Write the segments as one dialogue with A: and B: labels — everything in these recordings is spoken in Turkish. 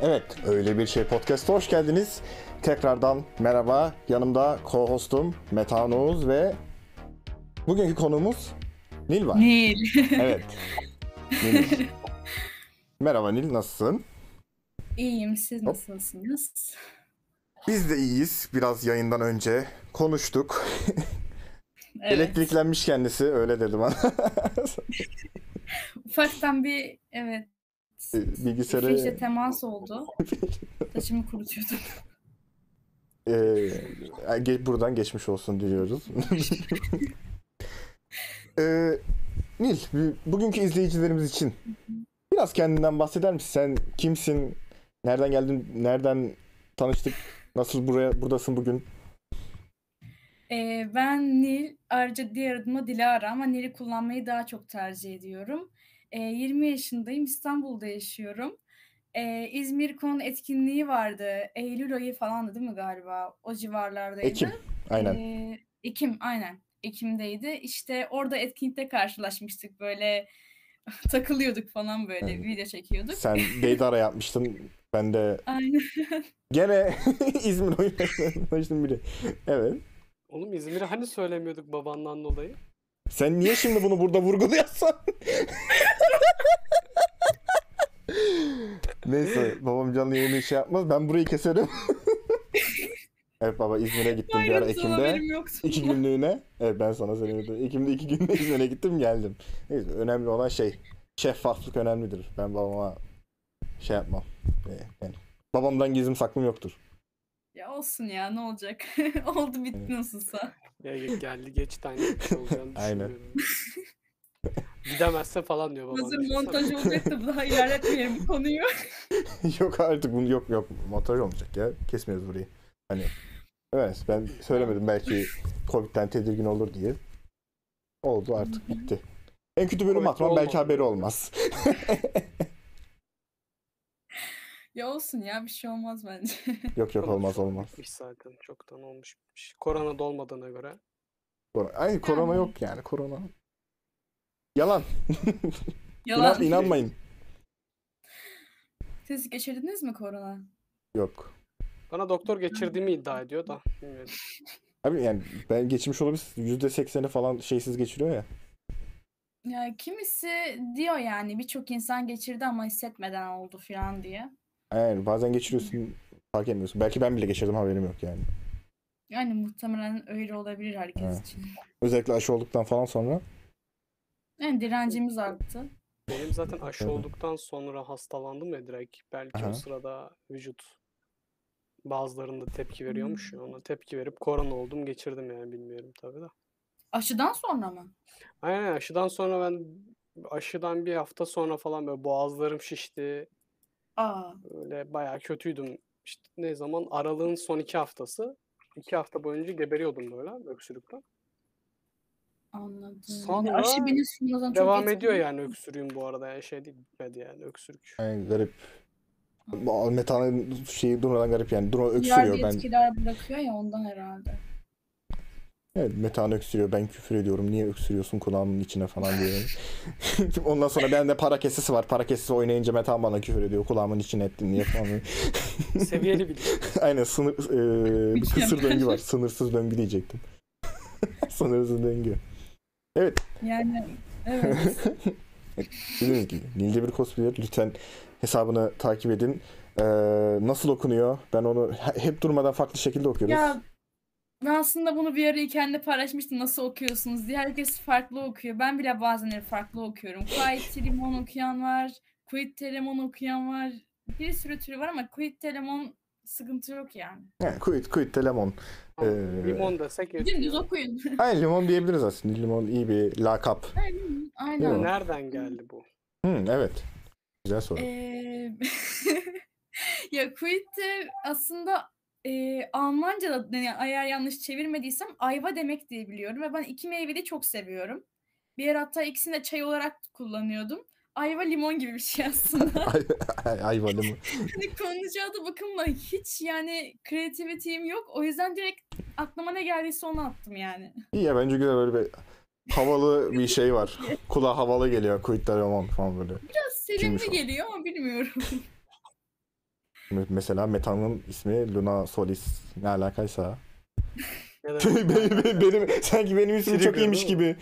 A: Evet, Öyle Bir Şey Podcast'a hoş geldiniz. Tekrardan merhaba. Yanımda co-hostum Metehan Oğuz ve bugünkü konuğumuz Nil var.
B: Nil.
A: Evet. Nil. merhaba Nil, nasılsın?
B: İyiyim. Siz nasılsınız?
A: Biz de iyiyiz. Biraz yayından önce konuştuk.
B: Evet.
A: Elektriklenmiş kendisi, öyle dedi bana.
B: Ufaktan bir evet.
A: Bilgisayarı...
B: Fişle temas oldu. Saçımı kurutuyordum.
A: Ee, ge- buradan geçmiş olsun diliyoruz. Ee, Nil, bu- bugünkü izleyicilerimiz için biraz kendinden bahseder misin? Sen kimsin? Nereden geldin? Nereden tanıştık? Nasıl buraya buradasın bugün?
B: Ee, ben Nil. Ayrıca diğer adıma Dilara ama Nil'i kullanmayı daha çok tercih ediyorum. Ee, 20 yaşındayım. İstanbul'da yaşıyorum. Ee, İzmir Kon etkinliği vardı. Eylül ayı falandı değil mi galiba? O civarlardaydı.
A: Ekim. Aynen.
B: Ee, Ekim aynen. Ekim'deydi. İşte orada etkinlikte karşılaşmıştık böyle takılıyorduk falan böyle
A: Evet.
B: video çekiyorduk.
A: Sen Beydara yapmıştın. Ben de
B: Aynen.
A: gene İzmir oyunu tanıştım bile. Evet.
C: Oğlum İzmir'i hani söylemiyorduk babandan dolayı?
A: Sen niye şimdi bunu burada vurguluyorsun? Neyse babam canlı yayını şey yapmaz. Ben burayı keserim. evet baba İzmir'e gittim bir ara
B: Ayrıntı
A: Ekim'de.
B: haberim yoktu.
A: İki günlüğüne. Evet ben sana söylemedim. Ekim'de iki günlüğüne İzmir'e gittim geldim. Neyse önemli olan şey. Şeffaflık önemlidir. Ben babama şey yapmam. Ee, Yani, babamdan gizlim saklım yoktur.
B: Ya olsun ya ne olacak. Oldu bitti
A: Evet.
B: nasılsa.
C: Ya ge- geldi geçti aynı bir şey olacağını
A: Aynen.
C: düşünmüyorum. Gidemezse falan diyor babam.
B: Hazır
C: Düşünsene.
B: montaj olacak da daha ilerletmeyelim bu konuyu.
A: yok artık bunu yok yok montaj olmayacak ya kesmiyoruz burayı. Hani evet ben söylemedim belki Covid'den tedirgin olur diye. Oldu artık bitti. En kötü bölüm
C: Covid
A: atmam belki
C: olmadı.
A: haberi olmaz.
B: Ya olsun ya bir şey olmaz bence.
A: yok yok
C: Korona
A: olmaz
C: falan
A: olmaz.
C: bitmiş zaten çoktan olmuş bitmiş. Korona da olmadığına göre.
A: Kor- Ay korona yok yani korona. Yalan.
B: Yalan.
A: İnan, inanmayın.
B: Siz geçirdiniz mi korona?
A: Yok.
C: Bana doktor geçirdiğimi iddia ediyor da. bilmiyorum.
A: Abi yani ben geçmiş olabilir. %80'i falan şeysiz geçiriyor ya.
B: Ya kimisi diyor yani birçok insan geçirdi ama hissetmeden oldu falan diye.
A: Yani bazen geçiriyorsun fark etmiyorsun. Belki ben bile geçirdim haberim yok yani.
B: Yani muhtemelen öyle olabilir herkes
A: Evet.
B: için.
A: Özellikle aşı olduktan falan sonra.
B: Yani direncimiz arttı.
C: Benim zaten aşı
A: Evet.
C: olduktan sonra hastalandım ya direkt. Belki
A: Aha.
C: o sırada vücut bazılarında tepki
A: Hmm.
C: veriyormuş ya. Ona tepki verip korona oldum geçirdim yani bilmiyorum tabii de.
B: Aşıdan sonra mı?
C: Aynen aşıdan sonra ben aşıdan bir hafta sonra falan böyle boğazlarım şişti.
B: Aa.
C: Böyle bayağı kötüydüm. İşte ne zaman? Aralığın son iki haftası. İki hafta boyunca geberiyordum böyle öksürükten.
B: Anladım.
C: Sonra
B: Aşı beni sonradan çok
C: Devam ediyor
B: etkiledi.
C: yani öksürüğüm bu arada. Yani şey değil bitmedi yani öksürük.
A: Yani garip. Bu Metanın şeyi durmadan garip yani. Durma öksürüyor
B: Diğer bir
A: ben.
B: etkiler bırakıyor ya ondan herhalde.
A: Evet metan öksürüyor. Ben küfür ediyorum. Niye öksürüyorsun kulağımın içine falan diyorum. Ondan sonra bende para kesesi var. Para kesesi oynayınca metan bana küfür ediyor. Kulağımın içine ettin niye falan.
C: Seviyeli bir şey.
A: Aynen sınır e, bir kısır döngü var. Sınırsız döngü diyecektim. Sınırsız döngü.
B: Yani evet.
A: Dediğiniz gibi Nilce bir cosplayer lütfen hesabını takip edin. Ee, nasıl okunuyor? Ben onu he- hep durmadan farklı şekilde okuyoruz.
B: ya ben aslında bunu bir ara hikayende paylaşmıştım nasıl okuyorsunuz diye. Herkes farklı okuyor. Ben bile bazen farklı okuyorum. Quaid Telemon okuyan var. Quid Telemon okuyan var. Bir sürü türü var ama Quid Telemon sıkıntı yok yani.
A: Yani, kuyut kuyut telemon.
C: Ama
A: Ee,
C: limon desek
B: Dümdüz
C: yetiyor.
B: okuyun.
A: Aynen limon diyebiliriz aslında. Limon iyi bir lakap.
B: Aynen.
A: Yok.
C: Nereden geldi bu?
A: Hı, evet. Güzel soru.
B: Eee, ya Kuit'te aslında eee Almanca'da yani eğer yanlış çevirmediysem ayva demek diye biliyorum ve ben iki meyveyi de çok seviyorum. Bir yer hatta ikisini de çay olarak kullanıyordum. Ayva limon gibi bir şey aslında.
A: Ay, ay, ayva limon.
B: Hani konuca da bakımla hiç yani kreativitim yok. O yüzden direkt aklıma ne geldiyse onu attım yani.
A: İyi ya bence güzel böyle bir havalı bir şey var. Kulağa havalı geliyor. Kuyut telemon falan böyle.
B: Biraz
A: Kimmiş
B: sevimli
A: o?
B: geliyor ama bilmiyorum.
A: Me- Mesela Meta'nın ismi Luna Solis ne alakaysa.
C: Ya da
A: benim, benim- benim- sanki benim ismim
C: Siri
A: çok
C: diyor,
A: iyiymiş
C: değil
A: gibi.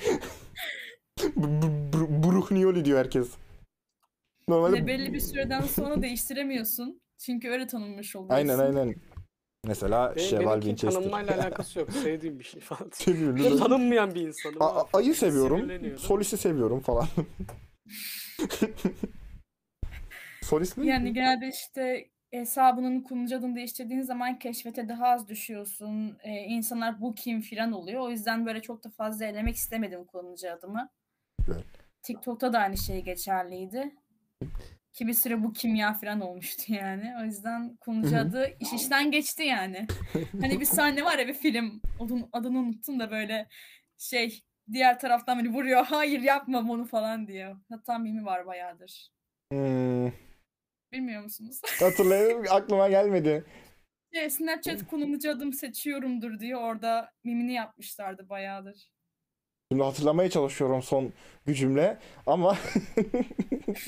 A: Bu- bu- bu- Bruhnioli diyor herkes.
B: Ve
A: Normalde
B: Hani belli bir süreden sonra değiştiremiyorsun. Çünkü öyle tanınmış oluyorsun.
A: aynen aynen. Mesela
C: Benim-
A: Cheval
C: benimki
A: Winchester.
C: tanınmayla alakası yok. Sevdiğim bir şey falan.
A: Seviyor, Luna-
C: Tanınmayan bir insanım.
A: A- a-
C: abi.
A: ayı seviyorum.
C: Sinirleniyorum.
A: Solis'i seviyorum falan. Solis mi?
B: Yani genelde işte hesabının kullanıcı adını değiştirdiğin zaman keşfete daha az düşüyorsun. Ee, insanlar bu kim filan oluyor. O yüzden böyle çok da fazla elemek istemedim kullanıcı adımı.
A: Evet.
B: TikTok'ta da aynı şey geçerliydi. Ki bir süre bu kimya filan olmuştu yani. O yüzden kullanıcı
A: Hı hı.
B: adı iş işten geçti yani. hani bir sahne var ya bir film. Adını, adını unuttum da böyle şey diğer taraftan beni vuruyor. Hayır yapma bunu falan diyor. Hatta mimi var bayağıdır.
A: Hmm,
B: Bilmiyor musunuz?
A: hatırlayamıyorum. Aklıma gelmedi.
B: Şey, Snapchat kullanıcı adım seçiyorumdur diye orada mimini yapmışlardı bayağıdır.
A: Şimdi hatırlamaya çalışıyorum son gücümle ama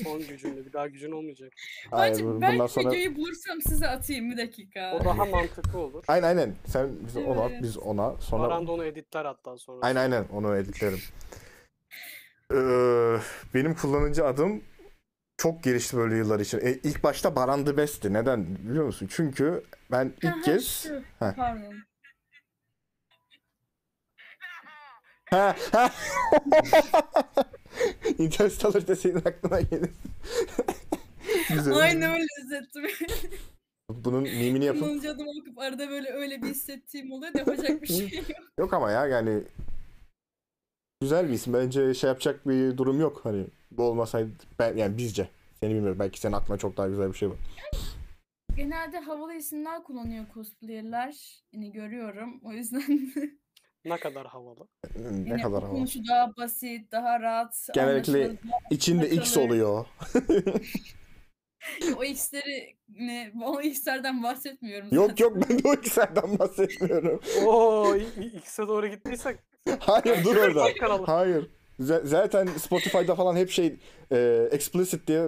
C: Son gücünde. Bir daha gücün olmayacak.
A: Hayır,
B: Bence
A: bu- bundan
B: belki
A: sonra
B: videoyu bulursam size atayım bir dakika.
C: O daha mantıklı olur.
A: Aynen aynen. Sen biz ona
B: Evet.
A: biz ona sonra
C: Baran da onu editler hatta sonra.
A: Aynen aynen onu editlerim. Ee, benim kullanıcı adım çok gelişti böyle yıllar için. E, ilk başta Baran the Best'ti. Neden biliyor musun? Çünkü ben ilk
B: Aha,
A: kez
B: şu,
A: Heh.
B: Pardon.
A: Ha, ha. Interstellar deseydin aklına gelir. Güzel.
B: Aynı öyle hissettim.
A: Bunun mimini yapın.
B: Kullanıcı adımı okup arada böyle öyle bir hissettiğim oluyor da yapacak bir şey yok.
A: Yok ama ya yani güzel bir isim. Bence şey yapacak bir durum yok. Hani bu olmasaydı ben yani bizce. Seni bilmiyorum. Belki senin aklına çok daha güzel bir şey var.
B: Genelde havalı isimler kullanıyor cosplayerler. Yani görüyorum. O yüzden
C: Ne kadar havalı.
A: Ne
B: yani
A: kadar havalı.
B: okunuşu daha basit, daha rahat.
A: Genellikle-
B: anlaşılır.
A: İçinde X
B: Bakalım.
A: oluyor.
B: O X'leri ne? O X'lerden bahsetmiyorum
A: Yok yok ben de o X'lerden bahsetmiyorum.
C: Oo, i- i- X'e doğru gittiysek
A: Hayır dur orada.
C: kanalı.
A: Hayır. Z- zaten Spotify'da falan hep şey e, explicit diye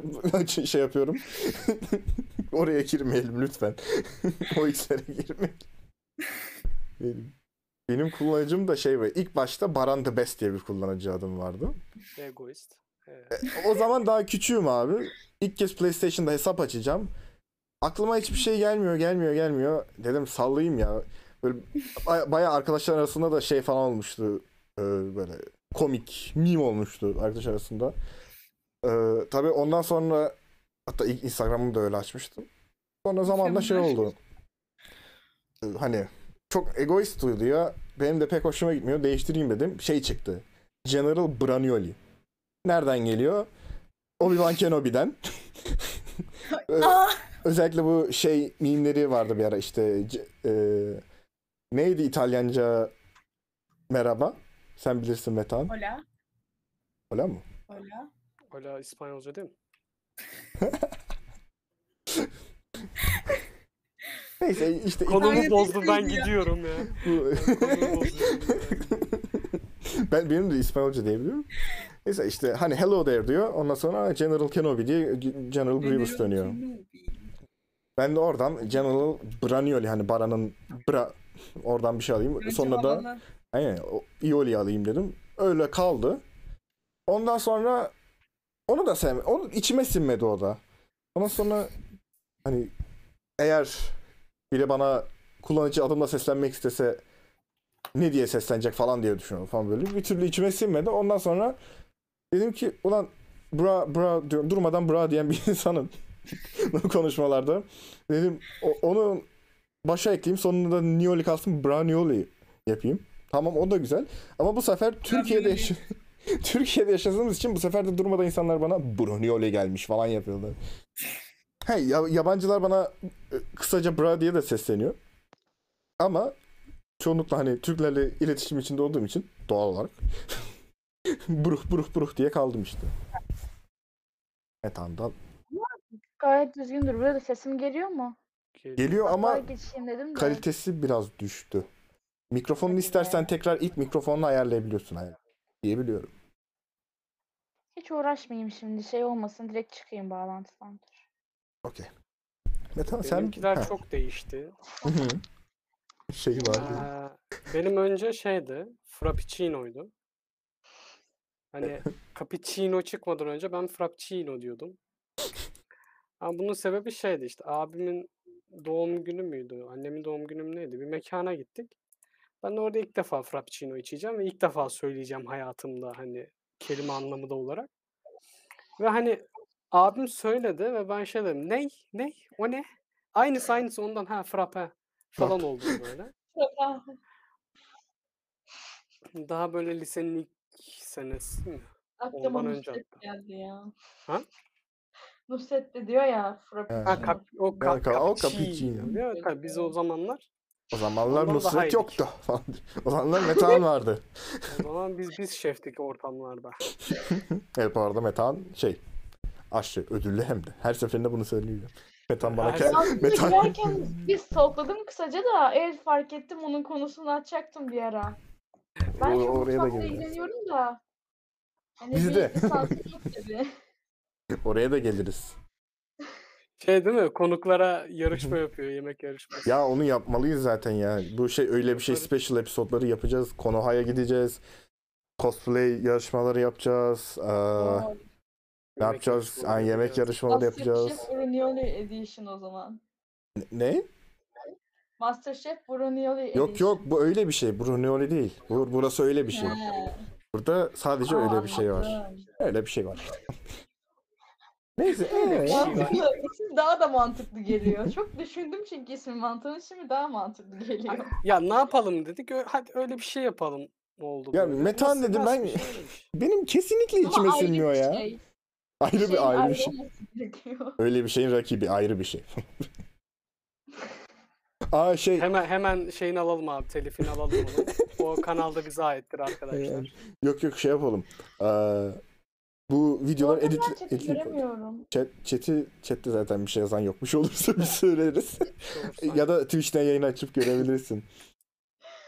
A: şey yapıyorum. Oraya girmeyelim lütfen. o X'lere girmeyelim. Benim, benim kullanıcım da şey böyle ilk başta Baran the Best diye bir kullanıcı adım vardı.
C: Egoist. Ee,
A: O zaman daha küçüğüm abi. İlk kez PlayStation'da hesap açacağım. Aklıma hiçbir şey gelmiyor, gelmiyor, gelmiyor. Dedim sallayayım ya. Böyle baya- bayağı arkadaşlar arasında da şey falan olmuştu. Ee, böyle komik, meme olmuştu arkadaş arasında. Ee, tabii ondan sonra hatta ilk Instagram'ımı da öyle açmıştım. Sonra zamanla şey oldu. Ee, Hani çok egoist duyuluyor. Benim de pek hoşuma gitmiyor. Değiştireyim dedim. Şey çıktı. General Branioli. Nereden geliyor? Obi-Wan Kenobi'den. Ö-
B: Aa!
A: Özellikle bu şey mimleri vardı bir ara işte C- e, neydi İtalyanca merhaba? Sen bilirsin Metan.
B: Hola.
A: Öyle mi?
B: Hola.
C: hala İspanyolca değil mi?
A: Neyse işte
C: Konumu
B: Aynen,
C: bozdu ben
B: İspanyolca.
C: gidiyorum ya.
A: bu-
C: Konumu bozdu.
A: ben benim de İspanyolca diyebiliyorum. Neyse işte hani hello there diyor. Ondan sonra General Kenobi diye General Grievous
B: General
A: dönüyor.
B: Kenobi.
A: Ben de oradan General Branioli hani Baran'ın bra oradan bir şey alayım.
B: Önce
A: Sonra da
B: havalı.
A: Aynen o Ioli alayım dedim. Öyle kaldı. Ondan sonra onu da sevme, onu içime sinmedi o da. Ondan sonra hani eğer biri bana kullanıcı adımla seslenmek istese ne diye seslenecek falan diye düşünüyorum falan böyle. Bir türlü içime sinmedi. Ondan sonra dedim ki ulan bra bra diyorum durmadan bra diyen bir insanım bu konuşmalarda. Dedim "O- onu başa ekleyeyim sonunda Nioli kalsın bra Nioli yapayım. Tamam o da güzel. Ama bu sefer Türkiye'de
B: Nioli.
A: yaşa- Türkiye'de yaşadığımız için bu sefer de durmadan insanlar bana Brunioli gelmiş falan yapıyorlar. He, ya- yabancılar bana e, kısaca bra diye de sesleniyor. Ama çoğunlukla hani Türklerle iletişim içinde olduğum için doğal olarak bruh bruh bruh diye kaldım işte. Metan'dan.
D: Gayet düzgündür. Burada sesim geliyor mu?
A: Geliyor ama
D: Daha geçeyim dedim de.
A: kalitesi biraz düştü. Mikrofonunu
D: Hadi be.
A: istersen tekrar ilk mikrofonunu ayarlayabiliyorsun. Hayır. Diyebiliyorum.
D: Hiç uğraşmayayım şimdi şey olmasın direkt çıkayım bağlantıdan.
A: Okey. Ya E, tamam sen...
C: Benimkiler
A: Ha.
C: çok değişti.
A: Hı hı. şey var.
C: Ee, benim önce şeydi, Frappuccino'ydu. Hani cappuccino çıkmadan önce ben Frappuccino diyordum. Ama bunun sebebi şeydi işte abimin doğum günü müydü, annemin doğum günü mü neydi? Bir mekana gittik. Ben de orada ilk defa Frappuccino içeceğim ve ilk defa söyleyeceğim hayatımda hani kelime anlamı da olarak. Ve hani abim söyledi ve ben şey dedim. Ney? Ney? O ne? Aynısı aynısı ondan ha frappe falan oldu böyle. Daha böyle lisenin ilk senesi mi?
E: Aklıma
C: Ondan önce
E: Nusret geldi ya.
C: Ha?
E: Nusret de diyor ya. Frappuccino.
C: Ha, kap, o
A: Ya,
C: kap,
A: ka- o
C: cappuccino
A: cappuccino.
C: diyor. Tabii Biz o zamanlar,
A: O zamanlar
C: Ondan daha
A: Nusret
C: iyiydik.
A: yoktu falan. O zamanlar Metehan vardı.
C: o zaman biz biz şeftik ortamlarda.
A: Evet bu arada Metehan şey aşçı ödüllü hem de. Her seferinde bunu söylüyor. Metehan bana
C: Her
A: ke-
E: Aslında
A: Metan-
E: girerken biz sokladım kısaca da el fark ettim onun konusunu açacaktım bir ara. Ben
A: Or-
E: çok
A: oraya da
E: mutfakla
A: geliriz.
E: ilgileniyorum da. Hani
A: Biz
E: bir
A: de.
E: lisansım yok tabii.
A: oraya da geliriz.
C: Şey değil mi? Konuklara yarışma yapıyor, yemek yarışması.
A: Ya onu yapmalıyız zaten ya. Bu şey öyle bir şey special episodları yapacağız. Konoha'ya gideceğiz. Cosplay yarışmaları yapacağız. Ee,
E: Oo,
A: ne yapacağız?
C: yarışmaları
A: Ha, yemek
C: yapacağız.
A: yarışmaları yapacağız.
E: Masterchef Brunioli Edition o zaman.
A: Ne?
E: Masterchef Brunioli Edition.
A: Yok yok bu öyle bir şey. Bruno öyle değil. Bu, burası öyle bir şey.
E: He.
A: Burada sadece
E: Aa,
A: öyle bir şey var.
E: anladım.
A: Öyle bir şey var. Neyse. ee,
C: şey var.
E: Mantıklı. İsim daha da mantıklı geliyor. Çok düşündüm çünkü ismi mantığını şimdi daha mantıklı geliyor.
C: Ya ne yapalım dedik. ö- Hadi öyle bir şey yapalım oldu.
A: Ya
C: böyle.
A: Metan
C: Nasıl-
A: dedi,
C: nasıl
A: ben-
C: bir şey olmuş?
A: Benim kesinlikle
E: Ama
A: içime
E: ayrı bir
A: sinmiyor ya.
E: şey.
A: Ayrı
E: Şeyin
A: bir ayrı bir şey.
E: olması gerekiyor.
A: Öyle bir şeyin rakibi ayrı bir şey. Aa şey
C: Hemen hemen şeyini alalım abi. Telifini alalım onu. o kanalda bize aittir arkadaşlar.
A: yok yok şey yapalım. Ee, bu videolar
E: Zaten
A: edit
E: ben chat'i göremiyorum.
A: chat chat'i chatte zaten bir şey yazan yokmuş olursa biz söyleriz.
C: Bir şey olursa.
A: ya da Twitch'ten yayın açıp görebilirsin.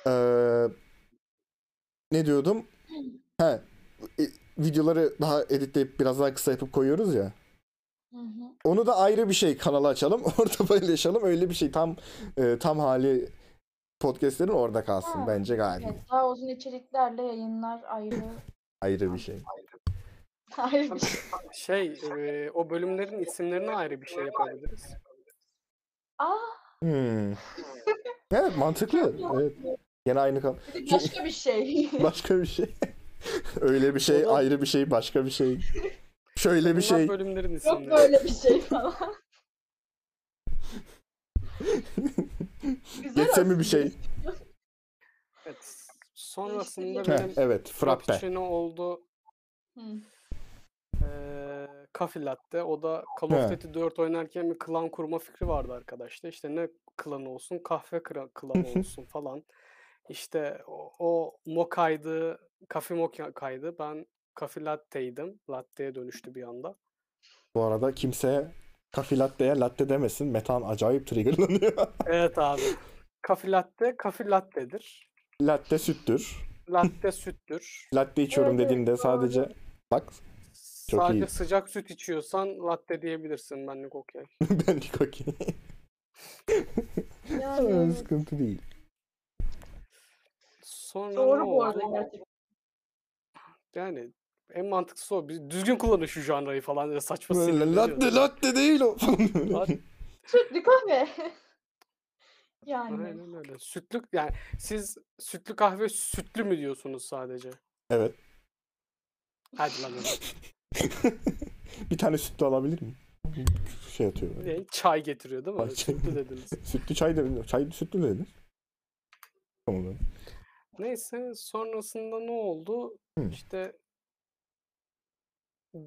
A: Ee, ne diyordum? Ha e, videoları daha editleyip biraz daha kısa yapıp koyuyoruz ya.
E: Hı hı.
A: Onu da ayrı bir şey kanala açalım. Orada paylaşalım. Öyle bir şey tam e, tam hali podcastlerin orada kalsın
E: Ha,
A: bence gayet.
E: Evet, daha uzun içeriklerle yayınlar ayrı.
A: Ayrı bir şey.
E: ayrı bir şey.
C: Şey, e, o bölümlerin isimlerine ayrı bir şey yapabiliriz.
E: Aa,
A: Hmm. evet mantıklı. Evet. Yine aynı kan.
E: bir de başka bir şey.
A: Başka bir şey. Öyle bir şey,
C: O da-
A: ayrı bir şey, başka bir şey. Şöyle bir
C: Bunlar
A: şey.
C: bölümlerin isimleri.
E: Yok böyle bir şey falan. Güzel
A: Geçse mi bir şey?
E: aslında.
C: Evet. Sonrasında
A: Heh,
C: benim
A: evet, frappe.
E: şey-
C: frappuccino oldu.
E: Hı.
C: Eee Coffee Latte. O da Call
A: He.
C: of Duty 4 oynarken bir klan kurma fikri vardı arkadaşlar. İşte ne klanı olsun, kahve kra- klanı olsun falan. İşte o, o mokaydı, kafe mokaydı. Ben Coffee Latte'ydim. Latte'ye dönüştü bir anda.
A: Bu arada kimse kafi latte'ye latte demesin. Metan acayip triggerlanıyor.
C: Evet abi. Coffee Latte, Coffee Latte'dir.
A: latte süttür.
C: Latte süttür.
A: Latte içiyorum
E: Evet, evet,
A: dediğinde
E: doğru.
A: sadece bak Çok iyi.
C: Sadece sıcak süt içiyorsan latte diyebilirsin benlik okey.
A: benlik okey.
E: Yani
A: Aa,
E: evet.
A: Sıkıntı değil.
C: Sonra ne
E: doğru bu
C: oldu?
E: arada gerçekten.
C: Yani en mantıklısı o. Biz düzgün kullanın şu janrayı falan diye saçma
A: Böyle
C: sinirleniyoruz.
A: latte latte değil o.
C: Latte,
E: Sütlü kahve. yani.
C: Aynen öyle. Sütlük yani siz sütlü kahve sütlü mü diyorsunuz sadece?
A: Evet.
C: Hadi lan. oradan.
A: bir tane sütlü alabilir miyim? Şey atıyor. böyle.
C: Ne? E, Çay getiriyor değil mi?
A: Ay, çay.
C: Sütlü dediniz.
A: Sütlü çay da Çay sütlü de denir. Tamam. abi.
C: Neyse sonrasında ne oldu?
A: Hı.
C: İşte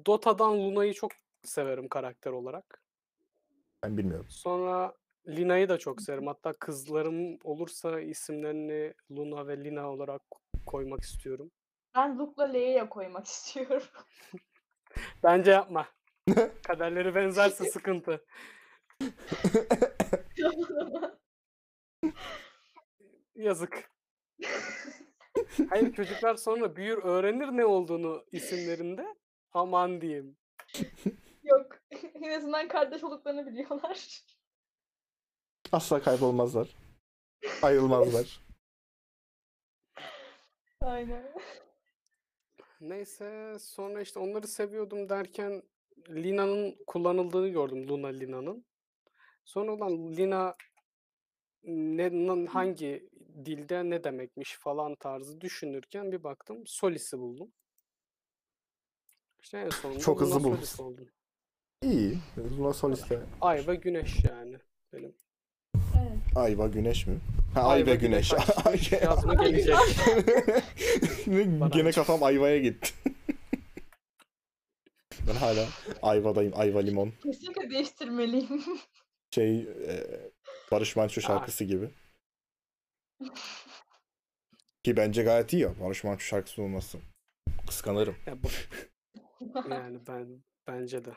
C: Dota'dan Luna'yı çok severim karakter olarak.
A: Ben bilmiyorum.
C: Sonra Lina'yı da çok severim. Hatta kızlarım olursa isimlerini Luna ve Lina olarak koymak istiyorum.
E: Ben Luke'la Leia'ya koymak istiyorum.
C: Bence yapma. Kaderleri benzerse sıkıntı. Yazık. Hayır çocuklar sonra büyür öğrenir ne olduğunu isimlerinde. Aman diyeyim.
E: Yok. en azından kardeş olduklarını biliyorlar.
A: Asla kaybolmazlar. Ayrılmazlar.
E: Aynen.
C: Neyse sonra işte onları seviyordum derken Lina'nın kullanıldığını gördüm. Luna Lina'nın. Sonra olan Lina ne, na- hangi dilde ne demekmiş falan tarzı düşünürken bir baktım Solis'i buldum. İşte en sonunda
A: Çok hızlı
C: Luna Solis
A: bulmuşsun.
C: oldum.
A: İyi. Luna Solis'te.
C: Ay ve güneş yani. Benim.
A: Ayva güneş mi? Ha, ay, ve güneş. Ay-
C: Yazma gelecek.
A: Ne-
C: Bana
A: Gene
C: aç.
A: kafam ayvaya gitti. ben hala ayvadayım. Ayva limon.
E: Kesinlikle değiştirmeliyim.
A: Şey e, Barış Manço şarkısı gibi. Ki bence gayet iyi ya. Barış Manço şarkısı olması. Kıskanırım.
C: Ya bu- yani ben bence de.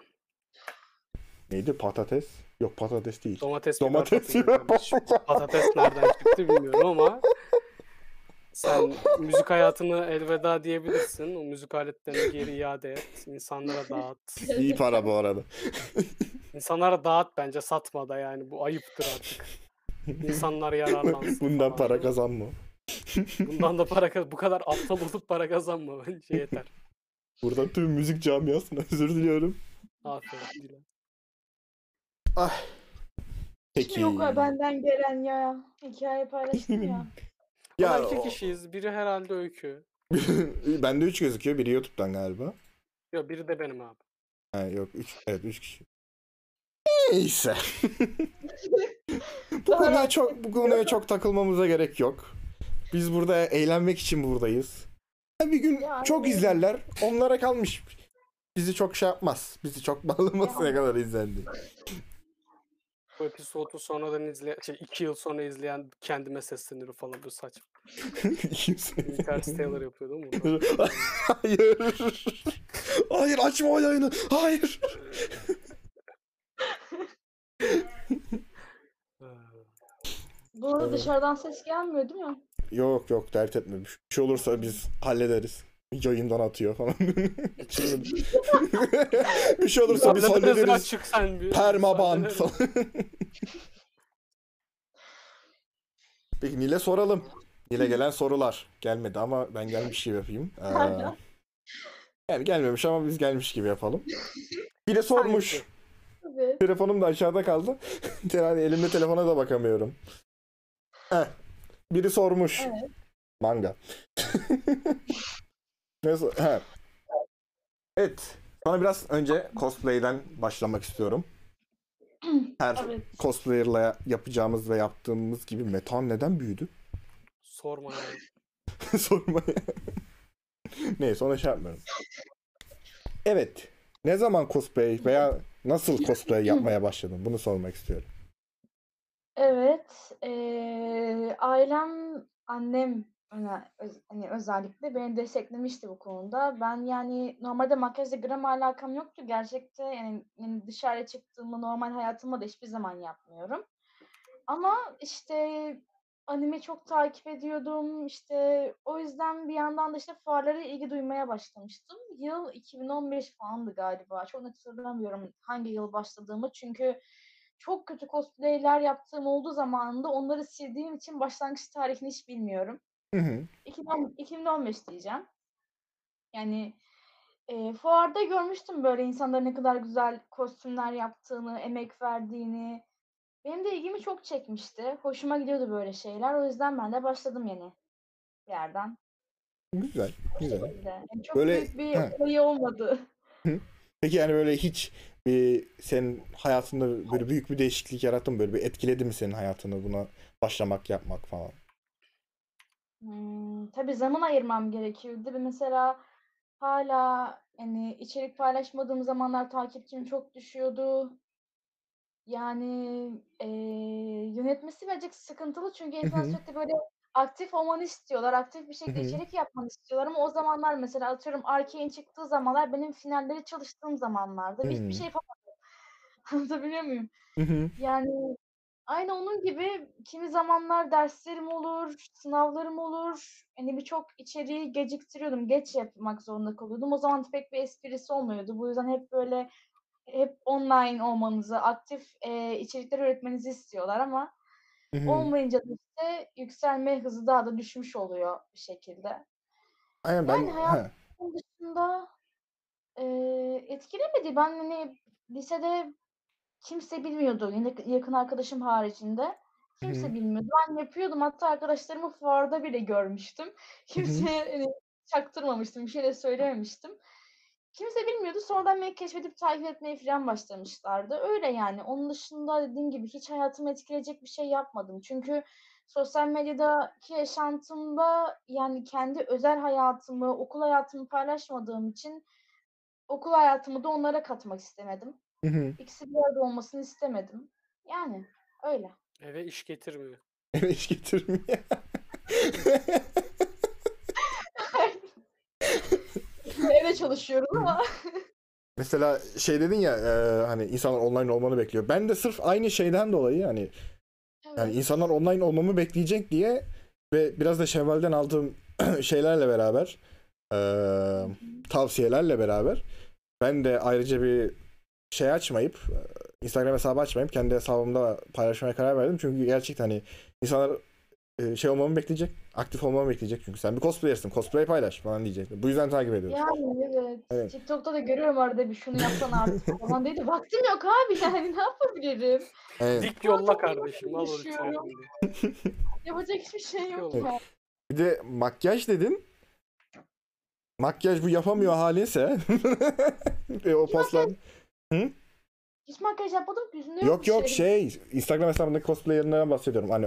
A: Neydi? Patates? Yok patates değil.
C: Domates biber
A: Domates.
C: patlıcan kardeşim. Patates nereden çıktı bilmiyorum ama sen müzik hayatını elveda diyebilirsin. O müzik aletlerini geri iade et. insanlara dağıt.
A: iyi para bu arada.
C: İnsanlara dağıt bence satma da yani. Bu ayıptır artık. İnsanlar yararlansın.
A: Bundan
C: falan.
A: para kazanma.
C: Bundan da para kaz. Bu kadar aptal olup para kazanma bence yeter.
A: Buradan tüm müzik camiasına özür diliyorum.
C: Aferin. Dilan.
A: Peki.
E: Yok ha, benden gelen ya. Hikaye paylaştım ya.
C: Ama
A: Ya,
C: iki
A: o-
C: kişiyiz. Biri herhalde Öykü.
A: bende 3 gözüküyor. Biri YouTube'dan galiba.
C: Ya biri de benim abi.
A: Ha, yok 3 evet 3 kişi. Neyse. bu konuya çok bu konuya çok takılmamıza gerek yok. Biz burada eğlenmek için buradayız. Ha, Bir gün
E: Ya,
A: çok
E: evet.
A: izlerler. Onlara kalmış. Bizi çok şey yapmaz. Bizi çok bağlamasına kadar izlendi.
C: Bu episodu sonradan izleyen, şey iki yıl sonra izleyen kendime seslenirim falan bu saçma. Interstellar yapıyordum bunu.
A: Hayır. Hayır açma o yayını. Hayır.
E: Bu arada
A: Evet.
E: dışarıdan ses gelmiyor değil mi?
A: Yok yok dert etme. Bir şey olursa biz hallederiz. Yayından atıyor falan. Şimdi- bir şey olursa biz
C: Hallederiz
A: hallederiz.
C: açık sen bir.
A: Permaban
C: hallederiz.
A: falan. Peki Nil'e soralım. Nil'e gelen sorular. Gelmedi ama ben gelmiş gibi yapayım. Ee, yani gelmemiş ama biz gelmiş gibi yapalım. Bir de sormuş.
C: Sanki.
E: Tabii.
A: Telefonum da aşağıda kaldı. yani elimde telefona da bakamıyorum. Heh. Biri sormuş. Manga. ne sor- He. Evet. Sana biraz önce cosplay'den başlamak istiyorum. Her
E: Evet.
A: cosplayer'la yapacağımız ve yaptığımız gibi metan neden büyüdü?
C: Sorma ya.
A: Sorma ya. Neyse ona şey yapmıyorum. Evet. Ne zaman cosplay veya nasıl cosplay yapmaya başladın? Bunu sormak istiyorum.
E: Evet. eee, ailem, annem öne- öz- hani özellikle beni desteklemişti bu konuda. Ben yani normalde makyajla gram alakam yoktu. Gerçekte yani, yani dışarı çıktığımda normal hayatımda da hiçbir zaman yapmıyorum. Ama işte anime çok takip ediyordum. İşte o yüzden bir yandan da işte fuarlara ilgi duymaya başlamıştım. Yıl 2015 falandı galiba. Çok net hatırlamıyorum hangi yıl başladığımı. Çünkü çok kötü cosplayler yaptığım olduğu zamanında onları sildiğim için başlangıç tarihini hiç bilmiyorum.
A: Hı hı.
E: 2010 2015 diyeceğim. Yani e, fuarda görmüştüm böyle insanların ne kadar güzel kostümler yaptığını, emek verdiğini. Benim de ilgimi çok çekmişti. Hoşuma gidiyordu böyle şeyler. O yüzden ben de başladım yeni bir yerden.
A: Güzel, güzel.
E: Bir de. Yani çok
A: Böyle-
E: büyük bir
A: He.
E: olayı olmadı.
A: Peki yani böyle hiç bir senin hayatında böyle büyük bir değişiklik yarattı mı? Böyle bir etkiledi mi senin hayatını buna başlamak, yapmak falan?
E: Hmm, tabii zaman ayırmam gerekirdi. Ve mesela hala yani içerik paylaşmadığım zamanlar takipçim çok düşüyordu. Yani eee, yönetmesi birazcık sıkıntılı çünkü
A: hı.
E: insan sürekli böyle aktif olmanı istiyorlar. Aktif bir şekilde
A: hı.
E: içerik yapmanı istiyorlar ama o zamanlar mesela atıyorum Arcane çıktığı zamanlar benim finalleri çalıştığım zamanlarda ve
A: Hmm.
E: hiçbir şey yapamadım. Anlatabiliyor muyum?
A: Hı hı.
E: Yani aynı onun gibi kimi zamanlar derslerim olur, sınavlarım olur. Hani birçok içeriği geciktiriyordum, geç yapmak zorunda kalıyordum. O zaman pek bir esprisi olmuyordu. Bu yüzden hep böyle hep online olmanızı, aktif eee, içerikler üretmenizi istiyorlar ama Olmayınca da işte yükselme hızı daha da düşmüş oluyor bir şekilde.
A: Aynen ben.
E: Yani hayat-
A: ha.
E: Onun dışında e, etkilemedi. Ben hani lisede kimse bilmiyordu. Yine yakın arkadaşım haricinde. Kimse bilmiyordu. Ben yapıyordum. Hatta arkadaşlarımı fuarda bile görmüştüm. Kimseye hani çaktırmamıştım. Bir şey de söylememiştim. Kimse bilmiyordu. Sonradan beni keşfedip takip etmeye falan başlamışlardı. Öyle yani. Onun dışında dediğim gibi hiç hayatımı etkileyecek bir şey yapmadım. Çünkü sosyal medyadaki yaşantımda yani kendi özel hayatımı, okul hayatımı paylaşmadığım için okul hayatımı da onlara katmak istemedim.
A: Hı hı.
E: İkisi bir arada olmasını istemedim. Yani öyle.
C: Eve iş getirmiyor.
A: Eve iş getirmiyor.
E: Evde çalışıyorum ama
A: Mesela şey dedin ya e, hani insanlar online olmanı bekliyor. Ben de sırf aynı şeyden dolayı hani yani
E: evet,
A: insanlar online olmamı bekleyecek diye ve biraz da Şevval'den aldığım şeylerle beraber e, tavsiyelerle beraber ben de ayrıca bir şey açmayıp e, Instagram hesabı açmayıp kendi hesabımda paylaşmaya karar verdim. Çünkü gerçekten hani insanlar e, şey olmamı bekleyecek. Aktif olmamı bekleyecek çünkü sen bir cosplayersin. Cosplay paylaş falan diyecek. Bu yüzden takip ediyorum.
E: yani evet.
A: Evet.
E: TikTok'ta da görüyorum arada bir şunu yapsan artık falan dedi. Vaktim yok abi yani ne yapabilirim?
A: Evet.
C: Dik yolla
E: çok
C: kardeşim al onu
E: yaşıyorum.
C: çağırın diye.
E: Yapacak hiçbir şey yok
C: Yok.
E: ya.
A: Bir de makyaj dedin. Makyaj bu yapamıyor halinse. e, o paslar.
E: Hiç makyaj yapmadım ki yüzümde
A: Yok
E: bir
A: yok şey Instagram hesabındaki cosplayerlerinden bahsediyorum. Hani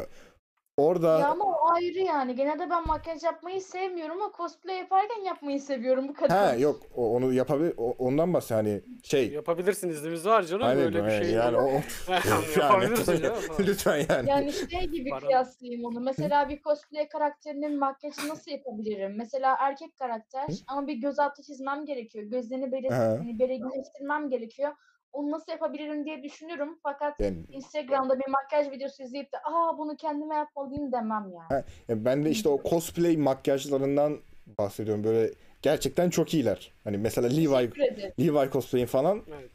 A: orada
E: Ya ama o ayrı yani. Genelde ben makyaj yapmayı sevmiyorum ama cosplay yaparken yapmayı seviyorum bu kadar.
A: ha yok o- onu yapabilir o- ondan bahsediyor hani şey.
C: Yapabilirsiniz iznimiz var canım
A: Aynen
C: öyle bir
A: aynen.
C: şey.
A: yani o
C: Yapabilirsin
A: yani,
C: canım.
A: lütfen yani.
E: Yani şey gibi
C: Bana-
E: kıyaslayayım onu. Mesela bir cosplay karakterinin makyajını nasıl yapabilirim? Mesela erkek karakter ama bir göz altı çizmem gerekiyor. Gözlerini belirt
A: Aha.
E: hani belirginleştirmem gerekiyor. Onu nasıl yapabilirim diye düşünürüm. Fakat
A: Yani
E: Instagram'da bir makyaj videosu izleyip de aa bunu kendime yapmalıyım demem yani.
A: Ya Ben de işte o cosplay makyajlarından bahsediyorum. Böyle gerçekten çok iyiler. Hani mesela Levi
E: Teşekkür ederim.
A: Levi cosplay'in falan.
C: Evet.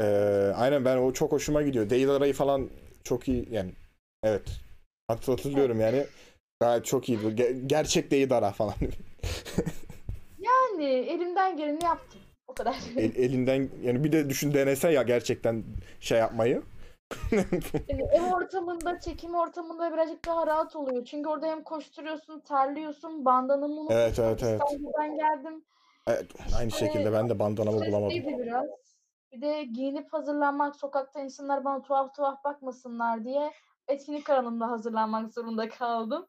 A: Ee, aynen ben o çok hoşuma gidiyor. Dale Ara'yı falan çok iyi yani. Evet. Hat- Hatırlıyorum yani. Gayet çok iyi. Ge- gerçek Dale Ara falan.
E: Yani elimden geleni yaptım. O kadar.
A: El- elinden yani bir de düşün denese ya gerçekten şey yapmayı.
E: Yani Hani ev ortamında, çekim ortamında birazcık daha rahat oluyor. Çünkü orada hem koşturuyorsun, terliyorsun, bandanamı unuttum.
A: Evet evet evet.
E: İstanbul'dan geldim.
A: Evet, aynı şekilde ben de bandanamı bulamadım.
E: Stresliydi biraz. Bir de giyinip hazırlanmak, sokakta insanlar bana tuhaf tuhaf bakmasınlar diye etkinlik alanında hazırlanmak zorunda kaldım.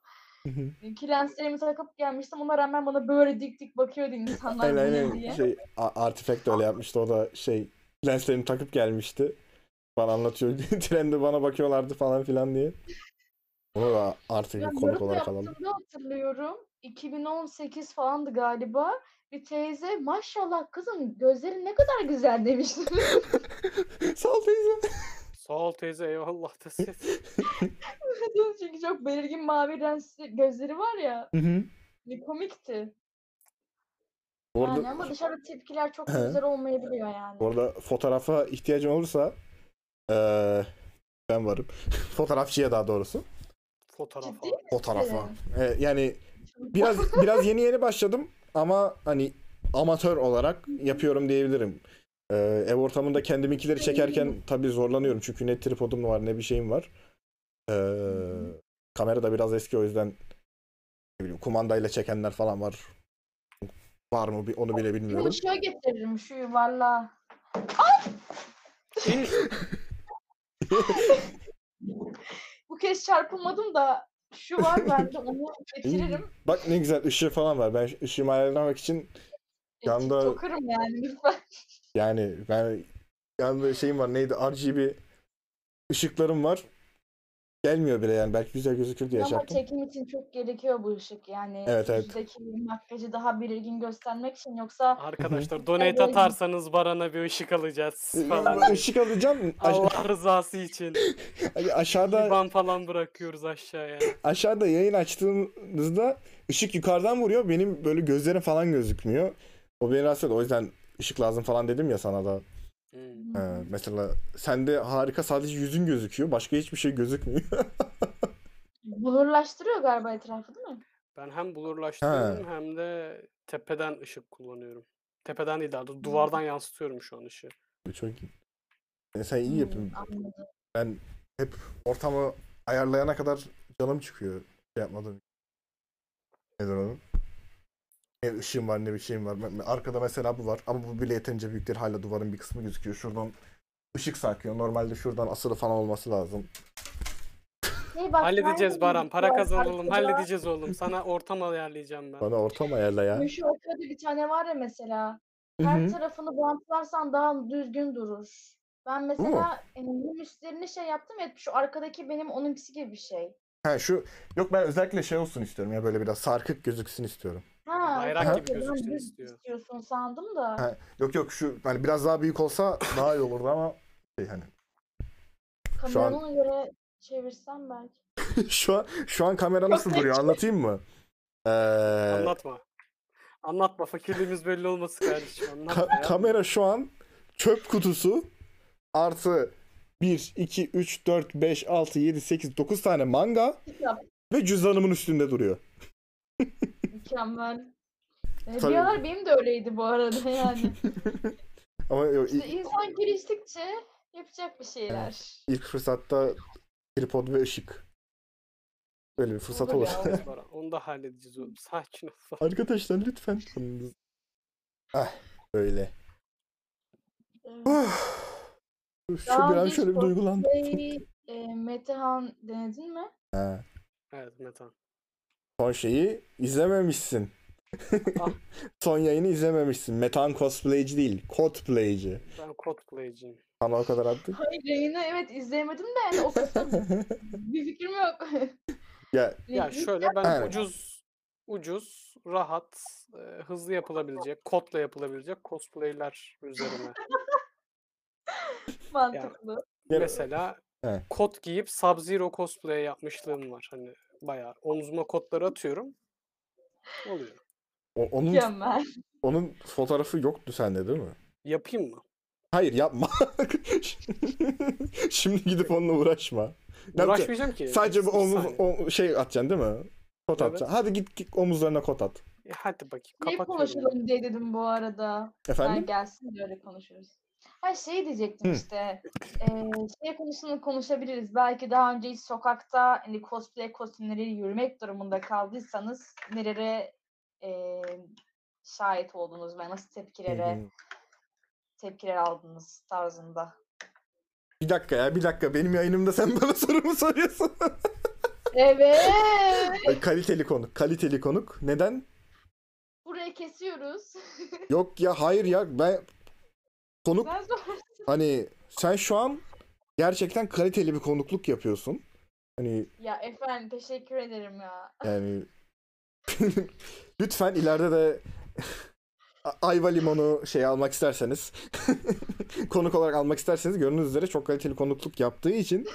E: E, Kilenselerimi takıp gelmiştim. Ona rağmen bana böyle dik dik bakıyordu insanlar
A: Aynen
E: bu ne
A: aynen
E: diye.
A: şey A- Artifact öyle yapmıştı o da şey lenslerini takıp gelmişti. Bana anlatıyor trende bana bakıyorlardı falan filan diye. Onu da artık bir
E: Ben
A: Ee, konuk
E: yorum
A: olarak alalım.
E: yaptığımda hatırlıyorum. 2018 falandı galiba. Bir teyze maşallah kızım gözlerin ne kadar güzel demişti.
A: Sağ ol teyze.
C: Sağ ol teyze eyvallah da siz.
E: Çünkü çok belirgin mavi renkli gözleri var ya. Ne komikti.
A: Bu arada,
E: Yani ama dışarıda tepkiler çok
A: He.
E: güzel olmayabiliyor yani.
A: bu arada fotoğrafa ihtiyacın olursa eee, ben varım. Fotoğrafçıya daha doğrusu.
C: Fotoğraf
E: Ciddi
C: al.
A: Fotoğrafa. Ee, yani biraz biraz yeni yeni başladım ama hani amatör olarak yapıyorum diyebilirim. Ee, ev ortamında kendiminkileri çekerken tabii zorlanıyorum çünkü ne tripodum var ne bir şeyim var. Ee, kamera da biraz eski o yüzden ne bileyim, kumandayla çekenler falan var. Var mı bi- onu bile bilmiyorum.
E: Bunu şöyle getiririm şu yuvarlağı.
C: İn.
E: Bu kez çarpılmadım da şu var bende onu getiririm.
A: Bak ne güzel ışığı falan var. Ben ışığımı ayarlamak için Yanda-
E: Yanda... E, Tokarım yani lütfen.
A: Yani ben yanında şeyim var neydi RGB ışıklarım var. Gelmiyor bile yani belki güzel gözükür diye şey
E: Ama
A: yaptım.
E: çekim için çok gerekiyor bu ışık yani.
A: Evet, evet.
E: Yüzdeki makyajı daha belirgin göstermek için yoksa
C: Arkadaşlar donate atarsanız Baran'a bir ışık alacağız
A: Ee,
C: falan. diye.
A: Işık alacağım. Aş-
C: Allah rızası için.
A: aşağıda
C: İban falan bırakıyoruz aşağıya.
A: aşağıda yayın açtığınızda ışık yukarıdan vuruyor. Benim böyle gözlerim falan gözükmüyor. O beni rahatsız ediyor. O yüzden ışık lazım falan dedim ya sana da.
C: Hmm.
A: Ee, mesela sende harika sadece yüzün gözüküyor. Başka hiçbir şey gözükmüyor.
E: blurlaştırıyor galiba etrafı değil mi?
C: Ben hem blurlaştırıyorum hem de tepeden ışık kullanıyorum. Tepeden değil daha doğrusu duvardan yansıtıyorum şu an ışığı.
A: Çok iyi. Yani sen iyi yapıyorsun.
E: Anladım.
A: Ben hep ortamı ayarlayana kadar canım çıkıyor. Şey yapmadım. Nedir onun? Ne ışığım var ne bir şeyim var. Ben- ben- Arkada mesela bu var ama bu bile yeterince büyük değil. Hala duvarın bir kısmı gözüküyor. Şuradan ışık sarkıyor. Normalde şuradan asılı falan olması lazım.
E: Hey, bak,
C: halledeceğiz
E: nerede
C: Baran.
E: bir
C: Para
E: var
C: kazanalım.
E: arkada?
C: Halledeceğiz oğlum. Sana ortam ayarlayacağım ben.
A: Bana ortam ayarla ya.
E: Şu ortada bir tane var ya mesela.
A: Hı
E: Her
A: hı.
E: tarafını bantlarsan daha düzgün durur. Ben
A: mu?
E: mesela yani, üstlerini şey yaptım ya şu arkadaki benim onunkisi gibi bir şey.
A: Ha şu yok ben özellikle şey olsun istiyorum ya böyle biraz sarkık gözüksün istiyorum.
E: Ha,
C: Bayrak
E: sen
A: gibi
E: de ben
C: gözüksün
E: düz
C: istiyor.
E: istiyorsun sandım da.
A: Ha, Yok yok şu hani biraz daha büyük olsa daha iyi olurdu ama şey hani şu an-
E: Kameranı ona göre çevirsem belki.
A: şu an şu an kamera nasıl duruyor anlatayım mı? Ee,
C: Anlatma. Anlatma. Fakirliğimiz belli olması kardeşim. Anlatma
A: ka-
C: ya.
A: kamera şu an çöp kutusu artı 1 2 3 4 5 6 7 8 9 tane manga
E: Kitap
A: ve cüzdanımın üstünde duruyor.
E: mükemmel. Ee,
A: Tabii.
E: bir aralar benim de öyleydi bu arada yani.
A: Ama yok,
E: İşte
A: ilk,
E: insan geliştikçe yapacak bir şeyler.
A: ilk fırsatta tripod ve ışık. Böyle bir fırsat
E: Olur
A: olur.
E: ya.
C: Yalnız Baran. Onu da halledeceğiz oğlum. Sakin ol.
A: Arkadaşlar lütfen. Ah öyle.
E: Evet.
A: Şu
E: Daha
A: bir an
E: önce
A: şöyle bir
E: hiç
A: duygulandım.
E: Şey, e, Metehan denedin mi?
A: Ha,
C: Evet Metan.
A: Son şeyi izlememişsin.
C: Ah.
A: Son yayını izlememişsin. Metan cosplayci değil, cosplayci.
C: Ben cosplayciyim.
A: Sana o kadar attık.
E: Hayır yayını evet izleyemedim de yani o kısım bir fikrim yok.
A: ya
C: Ya
E: Link-
C: şöyle ben
A: Aynen.
C: ucuz ucuz, rahat, e, hızlı yapılabilecek, kodla yapılabilecek cosplay'ler üzerine.
E: Mantıklı.
A: Ya-
C: Mesela
A: He.
C: kot giyip Sub-Zero cosplay yapmışlığım var. Hani bayağı omzuma kotları atıyorum. Oluyor.
A: o- onun
E: Mükemmel.
A: onun fotoğrafı yoktu sende değil mi?
C: Yapayım mı?
A: Hayır yapma. Şimdi gidip onunla uğraşma. Ne yapacaksın?
C: Uğraşmayacağım ki.
A: Sadece bu
C: Ee, Bir
A: omuz
C: saniye.
A: o- şey atacaksın değil mi? Kot
C: Evet.
A: atacaksın. Hadi git, git omuzlarına kot at.
C: E, hadi bakayım.
E: Ne
C: Kapatıyorum.
E: konuşalım diye dedim bu arada.
A: Efendim?
E: Ben gelsin de öyle konuşuruz. Ha şey diyecektim
A: Hı.
E: işte. Eee şey konusunu konuşabiliriz. Belki daha önce hiç sokakta hani cosplay kostümleriyle yürümek durumunda kaldıysanız nelere eee, şahit oldunuz ve nasıl tepkilere
A: Hı hı.
E: tepkiler aldınız tarzında.
A: Bir dakika ya bir dakika benim yayınımda sen bana soru mu soruyorsun?
E: Evet.
A: Ay, kaliteli konuk kaliteli konuk neden?
E: Burayı kesiyoruz.
A: Yok ya hayır ya ben konuk
E: Ben sonra-
A: hani sen şu an gerçekten kaliteli bir konukluk yapıyorsun. Hani
E: ya efendim teşekkür ederim ya.
A: yani lütfen ileride de A- ayva limonu şey almak isterseniz konuk olarak almak isterseniz gördüğünüz üzere çok kaliteli konukluk yaptığı için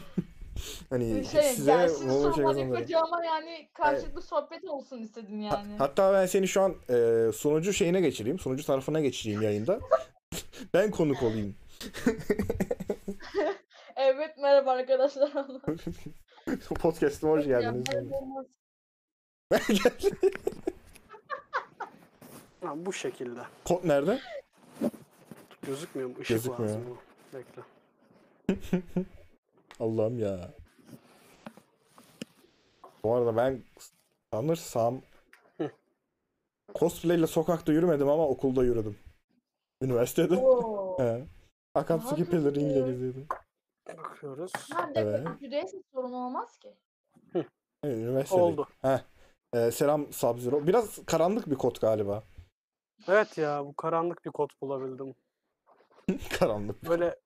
A: hani
E: Şey,
A: size
E: gelsin
A: bol bol şey
E: sohbet
A: kazandırır.
E: yapacağım ama yani karşılıklı sohbet olsun istedim
A: Ha-
E: yani.
A: hatta ben seni şu an e, sunucu şeyine geçireyim. Sunucu tarafına geçireyim yayında. ben konuk olayım.
E: Evet merhaba arkadaşlar. Allah
A: Podcast'ıma hoş
E: ya,
A: geldiniz.
E: merhaba olmaz.
C: Ha, bu şekilde.
A: Kod nerede?
C: Gözükmüyor mu? Işık
A: Gözükmüyor.
C: lazım. ona. Bekle.
A: Allah'ım ya. Bu arada ben sanırsam
C: Hı.
A: cosplay ile sokakta yürümedim ama okulda yürüdüm. Üniversitede.
E: Oo.
A: He. Akatsuki
E: Daha kötü.
A: peleriyle geziyordum.
C: Bakıyoruz.
A: Şey
E: Ha, de,
A: Evet.
E: Cüdeyse sorun olmaz ki.
A: He, Üniversitede.
C: Oldu.
A: He. Ee, selam Sub-Zero. Biraz karanlık bir kod galiba.
C: Evet ya bu karanlık bir kod bulabildim.
A: karanlık.
C: Böyle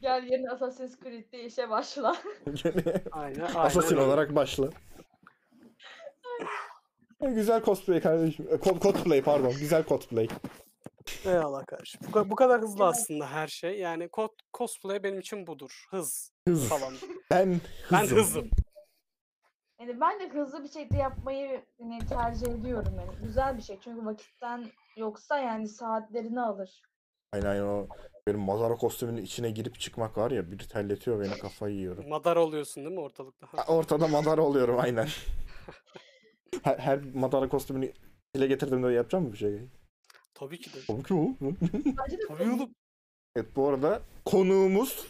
E: Gel yeni Assassin's Creed'de işe başla.
C: aynen aynen.
A: Assassin
C: öyle.
A: olarak başla. E, Güzel cosplay kardeşim. E, co- Cosplay pardon. Güzel cosplay.
C: Eyvallah kardeşim. Bu, ka- bu kadar hızlı aslında her şey. Yani kod, cosplay benim için budur. Hız
A: Hız.
C: falan.
A: Ben
C: ben
A: hızım.
C: hızım.
E: Yani ben de hızlı bir şekilde yapmayı yani, tercih ediyorum yani. Güzel bir şey çünkü vakitten yoksa yani saatlerini alır.
A: Aynen aynen o böyle Mazara kostümünün içine girip çıkmak var ya biri terletiyor beni kafayı yiyorum.
C: Madar oluyorsun değil mi ortalıkta?
A: Ha, Ortada madara oluyorum aynen. Her, her madara kostümünü dile getirdiğimde yapacağım mı bir şey?
C: Tabii ki de.
A: Tabii ki oğlum.
C: Tabii oğlum.
A: Evet bu arada konuğumuz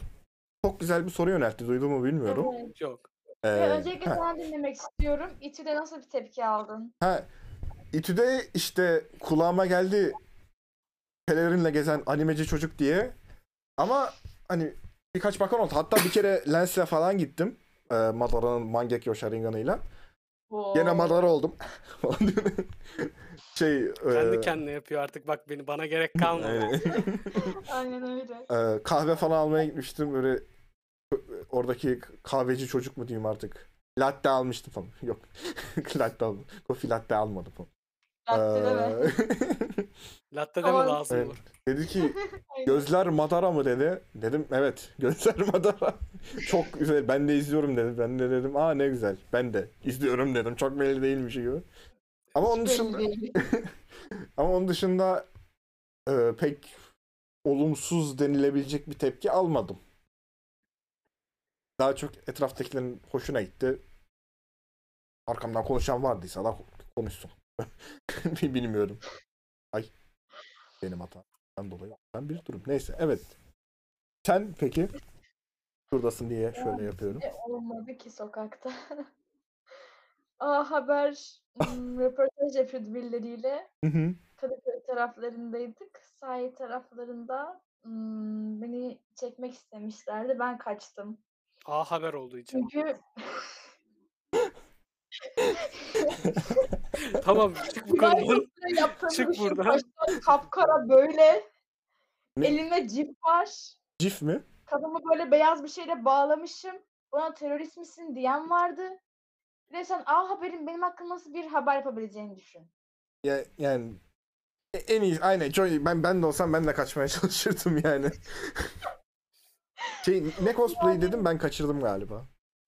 A: çok güzel bir soru yöneltti. Duydu mu bilmiyorum.
E: Evet.
C: Yok.
A: Ee,
E: Ve öncelikle
A: ha.
E: sana dinlemek istiyorum. İTÜ'de nasıl bir tepki aldın?
A: İTÜ'de işte kulağıma geldi pelerinle gezen animeci çocuk diye. Ama hani birkaç bakan oldu. Hatta bir kere Lens'le falan gittim. Ee, Madara'nın Mangekyo Sharingan'ıyla. Gene
E: Oo.
A: Madara oldum. Falan diyor. şey...
C: Kendi
A: e,
C: kendine yapıyor artık bak beni. Bana gerek kalmadı.
A: aynen.
E: Aynen öyle.
A: Ee, kahve falan almaya gitmiştim. Böyle e, oradaki kahveci çocuk mu diyeyim artık. Latte almıştım falan. Yok. latte almadım. Kofi latte almadım falan.
E: Latte deme.
A: Ee,
C: Latte de mi
E: Aman.
C: lazım
A: Evet.
C: olur?
A: Dedi ki
E: Aynen.
A: gözler madara mı dedi. Dedim evet gözler madara. Çok güzel ben de izliyorum dedi. Ben de dedim aa ne güzel ben de izliyorum dedim. Çok belli değilmiş gibi. Ama onun dışında ama onun dışında e, pek olumsuz denilebilecek bir tepki almadım. Daha çok etraftakilerin hoşuna gitti. Arkamdan konuşan vardıysa da konuşsun. Bilmiyorum. Ay. Benim hatamdan dolayı ben bir durum. Neyse evet. Sen peki? Şuradasın diye şöyle yapıyorum.
E: E, olmadı ki sokakta. Aa haber m, röportaj yapıyordu birileriyle.
A: Hı hı.
E: Kadıköy taraflarındaydık. Sahil taraflarında m, beni çekmek istemişlerdi. Ben kaçtım.
C: A haber olduğu için.
E: Çünkü
C: tamam çık bu konudan.
E: üniversitede yaptığım
C: Çık
E: işin
C: buradan.
E: baştan kapkara böyle.
A: Ne?
E: Elime cip var.
A: Cif mi?
E: Kafamı böyle beyaz bir şeyle bağlamışım. Bana terörist misin diyen vardı. Resmen A Haber'in benim hakkımda nasıl bir haber yapabileceğini düşün.
A: Ya, yani e- en iyi aynen Johnny ben ben de olsam ben de kaçmaya çalışırdım yani. şey ne cosplay dedim ben kaçırdım galiba.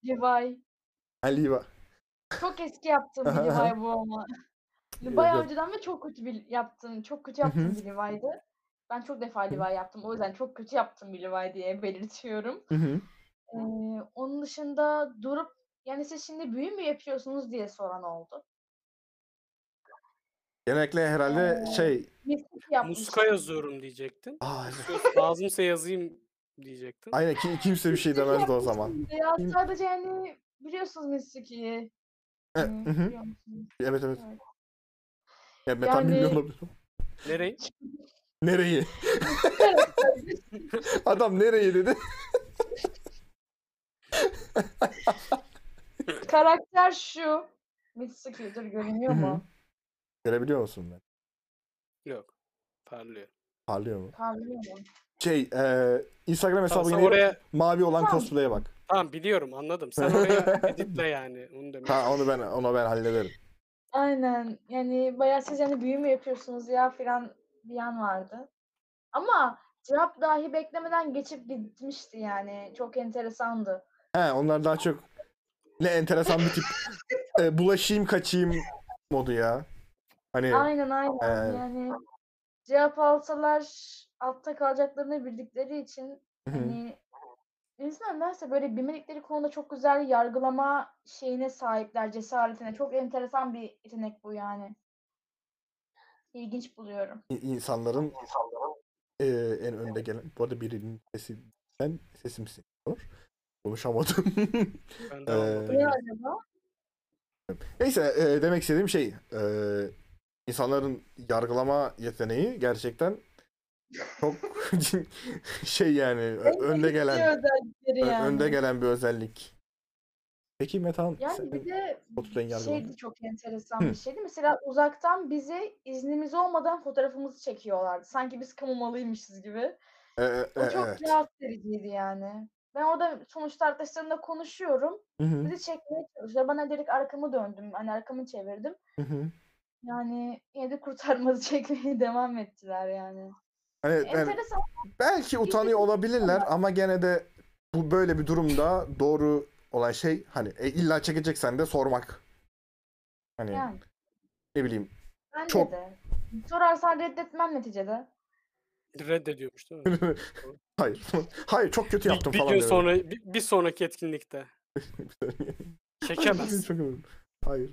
E: Levi.
A: Ali va.
E: Çok eski yaptığım bir Levi bu ama.
A: Yok,
E: Bayağı
A: yok.
E: önceden de çok kötü bir yaptığım, çok kötü
A: Hı hı.
E: yaptığım bir Levi'ydi. Ben çok defa Levi yaptım. O yüzden çok kötü yaptığım bir Levi diye belirtiyorum.
A: Hı hı.
E: Ee, onun dışında durup yani siz şimdi büyü mü yapıyorsunuz diye soran oldu.
A: Genellikle herhalde
E: Ee,
A: şey
E: Mistik yapmışım.
C: Muska yazıyorum diyecektin.
A: Aa, evet.
C: Lazımsa yazayım diyecektin.
A: aynen ki, kimse bir şey
E: Mistik
A: demezdi o
E: yapmışım
A: zaman.
E: diye. Ya
A: Kim-
E: sadece yani biliyorsunuz Mistiki'yi.
A: E,
E: Ee,
A: hı hı.
E: biliyor musunuz?
A: Evet evet.
E: Evet.
A: Ya ben tam
E: Yani-
A: bilmiyor olabilirim.
C: Nereyi?
A: Nereyi? Adam nereyi dedi.
E: Karakter şu. Mitsuki dur görünüyor
A: Hı hı.
E: mu?
A: Görebiliyor musun ben?
C: Yok. Parlıyor.
A: Parlıyor mu?
E: Parlıyor mu?
A: Şey e, Instagram hesabı
C: Tamam, sen
A: yine
C: oraya...
A: mavi olan
E: Tamam.
A: cosplay'e bak.
C: Tamam biliyorum anladım. Sen oraya editle yani. Onu demek.
A: Ha, onu ben onu ben hallederim.
E: Aynen. Yani bayağı siz yani büyü mü yapıyorsunuz ya filan diyen vardı. Ama cevap dahi beklemeden geçip gitmişti yani. Çok enteresandı.
A: He onlar daha çok ne enteresan bir tip. E, bulaşayım kaçayım modu ya. Hani
E: Aynen aynen.
A: Evet.
E: Yani cevap alsalar altta kalacaklarını bildikleri için
A: hı hı.
E: hani insanlarsa böyle bilmedikleri konuda çok güzel yargılama şeyine sahipler, cesaretine. Çok enteresan bir yetenek bu yani. İlginç buluyorum.
A: İ- insanların e, en önde gelen bu arada birinin sesi ben sesim sekiyor. Konuşamadım.
C: Ben
A: Ee,
C: de anladım.
E: Ne acaba?
A: Neyse e, demek istediğim şey e, insanların yargılama yeteneği gerçekten çok şey yani ö-
E: En
A: önde
E: sevdiği
A: gelen
E: Şey özellikleri
A: ö-
E: yani.
A: önde gelen bir özellik. Peki Metan
E: Yani
A: senin-
E: bir de
A: Oturtayın yargılamayı.
E: şey de çok enteresan
A: Hı.
E: bir şeydi. Mesela uzaktan bize iznimiz olmadan fotoğrafımızı çekiyorlardı. Sanki biz kamu malıymışız gibi.
A: E, e,
E: O
A: e,
E: çok
A: evet.
E: rahatsız ediciydi yani. Ben orada sonuçta arkadaşlarımla konuşuyorum.
A: Hı hı,
E: Bizi çekmeye çalışıyor. Ben hani direkt arkamı döndüm. Hani arkamı çevirdim.
A: hı hı.
E: Yani yine de kurtarmadı çekmeye devam ettiler yani.
A: Evet, Hani, yani
E: Enteresan. şey.
A: belki utanıyor olabilirler ama gene de bu böyle bir durumda doğru olan şey hani e, illa çekeceksen de sormak. Hani
E: Yani.
A: ne bileyim
E: Bence
A: Çok-
E: de. Sorarsan reddetmem neticede.
C: Reddediyormuş değil mi?
A: Hayır. Hayır çok kötü yaptım
C: bir, bir
A: falan.
C: gün
A: demedim.
C: sonra bir, bir sonraki etkinlikte. Çekemez.
A: Çok özür- Hayır.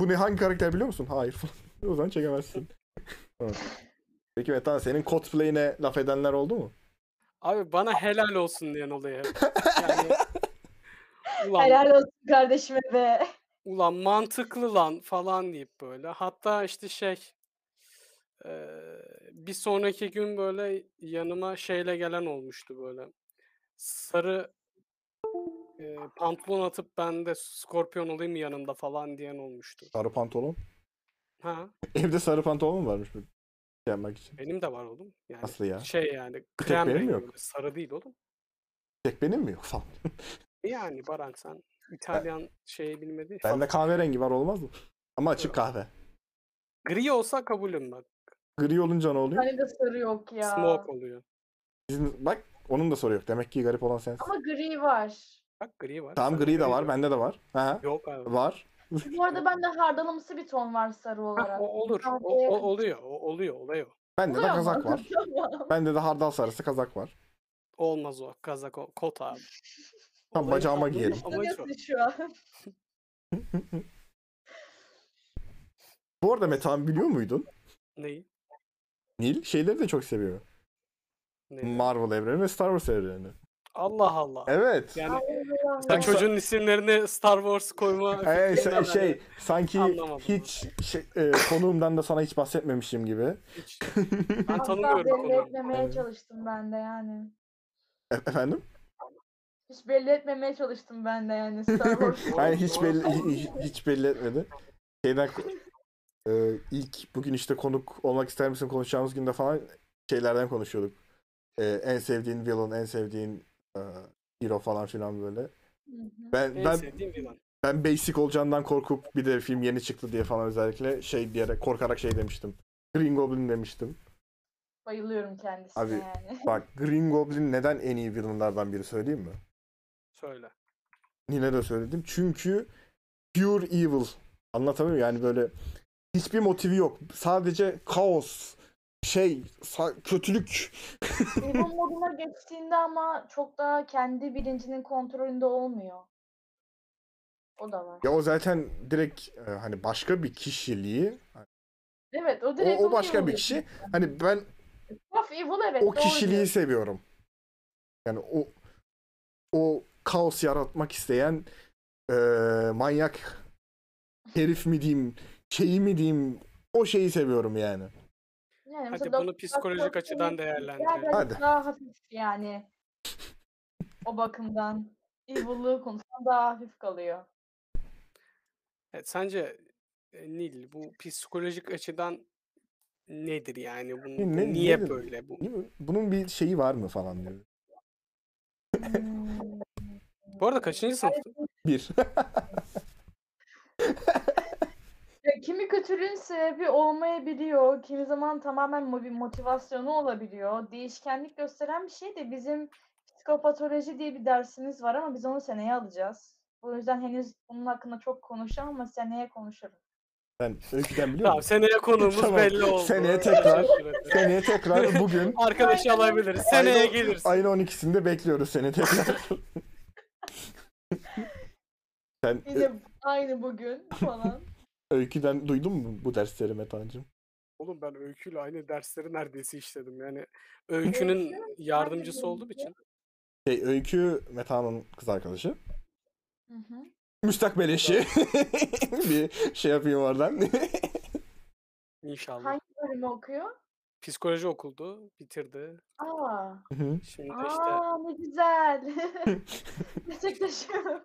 A: Bu ne hangi karakter biliyor musun? Hayır falan. o zaman çekemezsin. Evet. Peki Metan senin cosplay'ine laf edenler oldu mu?
C: Abi bana helal olsun diyen olayı. hep. Yani, ulan,
E: Helal olsun kardeşime be.
C: ulan mantıklı lan falan deyip böyle. Hatta işte şey eee, bir sonraki gün böyle yanıma şeyle gelen olmuştu böyle. Sarı eee, pantolon atıp ben de skorpiyon olayım yanında falan diyen olmuştu.
A: Sarı pantolon.
C: Ha,
A: Evde sarı pantolon mu varmış? Şey Yapmak için.
C: benim de var oğlum. Yani
A: Nasıl ya?
C: şey yani
A: tek
C: krem
A: benim
C: rengi
A: yok.
C: böyle, sarı değil oğlum.
A: Tek benim mi yok falan.
C: Yani Baran sen İtalyan şeyi bilmediği falan.
A: Bende kahverengi var olmaz mı? Ama açık kahve.
C: Gri olsa kabulüm bak.
A: Gri olunca ne oluyor?
E: Hani de sarı yok ya.
C: Smoke oluyor.
A: Bizim- bak onun da soru yok. Demek ki garip olan sensin.
E: Ama gri var.
C: Bak gri var.
A: Tamam
C: sende
A: gri de
C: yok.
A: var. Bende de var. Ha,
C: Yok abi.
A: var.
E: Bu arada bende hardalımsı bir ton var sarı
C: Ha,
E: olarak.
C: Ah, o olur. O,
E: Kahveye-
C: o- oluyor. O, oluyor. Oluyor.
A: Bende de
E: Oluyor mu?
A: kazak var. Bende de hardal sarısı kazak var.
C: Olmaz o. Kazak o. Kot abi.
A: Tam
C: Olayın
A: bacağıma
C: amacı-
A: giyerim.
C: amacı o.
E: Tanıyorsun şu an.
A: Bu arada Metan biliyor muydun?
C: Neyi?
A: Nil şeyleri de çok seviyor.
C: Neyi?
A: Marvel evreni ve Star Wars evreni.
C: Allah Allah.
A: Evet.
C: Yani
A: Sen-
C: sen çocuğun isimlerini Star Wars koyma.
A: Ee,
C: fikrinden
A: şey,
C: hani
A: şey, sanki
C: Anlamadım.
A: hiç şey, e, konuğumdan da sana hiç bahsetmemişim gibi.
C: hiç- ben
E: Asla
C: tanımıyorum
E: belli
C: konuyu.
E: etmemeye
A: Evet.
E: çalıştım ben de yani.
A: E- efendim?
E: Hiç belli etmemeye çalıştım ben de yani Star Wars.
A: Hayır
C: Doğru,
A: hiç
C: doğru.
A: belli hi- hi- hiç belli etmedi. Şeyden e, ilk bugün işte konuk olmak ister misin konuşacağımız günde falan şeylerden konuşuyorduk. E, en sevdiğin villain, en sevdiğin e, hero falan filan böyle. Ben
C: En
A: ben
C: sevdiğim villain.
A: ben basic olacağından korkup bir de film yeni çıktı diye falan özellikle şey diyerek korkarak şey demiştim. Green Goblin demiştim.
E: Bayılıyorum kendisine
A: Abi,
E: yani.
A: Bak Green Goblin neden en iyi villainlardan biri söyleyeyim mi?
C: Söyle.
A: Yine de söyledim. Çünkü pure evil. Anlatamıyorum yani böyle hiçbir motivi yok. Sadece kaos, şey, sa- kötülük.
E: Evil moduna geçtiğinde ama çok daha kendi bilincinin kontrolünde olmuyor. O da var.
A: Ya o zaten direkt e, hani başka bir kişiliği.
E: Evet o
A: O,
E: direkt
A: o
E: onu
A: başka
E: evil
A: bir
E: diyor.
A: kişi. Hani ben
E: Saf evil evet.
A: o
E: doğru
A: kişiliği
E: diyor.
A: seviyorum. Yani o o kaos yaratmak isteyen eee, manyak herif mi diyeyim, şeyi mi diyeyim o şeyi seviyorum yani.
E: Yani
C: Hadi
E: mesela
C: bunu
E: Dr.
C: psikolojik
E: Strange'in
C: açıdan değerlendirelim.
E: birazcık
A: Hadi.
E: Daha hafif yani. O bakımdan. Evil'lığı konusunda daha hafif kalıyor.
C: Evet, sence e, Nil bu psikolojik açıdan nedir yani? Bu, bu
A: ne-
C: niye
A: nedir?
C: böyle? Bu,
A: Değil mi? Bunun bir şeyi var mı falan diyor.
E: Hmm.
C: bu arada kaçıncı sınıf?
A: Bir.
E: Ya kimi kötülüğün sebebi olmayabiliyor, kimi zaman tamamen mo- bir motivasyonu olabiliyor. Değişkenlik gösteren bir şey de bizim psikopatoloji diye bir dersimiz var ama biz onu seneye alacağız. O yüzden henüz bunun hakkında çok konuşamam ama seneye konuşurum.
A: Ben öyküden biliyor
C: Tamam
A: musun?
C: seneye konuğumuz
A: Tamam,
C: belli oldu.
A: seneye tekrar-
C: Teşekkür ederim.
A: Seneye tekrar bugün
C: Arkadaşı alabiliriz. Seneye
A: Aynen.
C: gelirsin.
A: ayın 12'sinde bekliyoruz seni tekrar. Sen ö-
E: Yine aynı bugün falan.
A: öyküden duydun mu bu dersleri Metan'cığım?
C: Oğlum ben öyküyle aynı dersleri neredeyse işledim. Yani öykünün yardımcısı olduğum
E: bölümde?
C: için.
A: Şey, öykü Metan'ın kız arkadaşı.
E: Hı hı.
A: müstakbel eşi. bir şey yapayım oradan.
C: İnşallah.
E: Hangi bölümü okuyor?
C: Psikoloji okuldu, bitirdi.
E: Aa,
C: Şimdi işte
E: aa ne güzel. Gerçekleşiyor.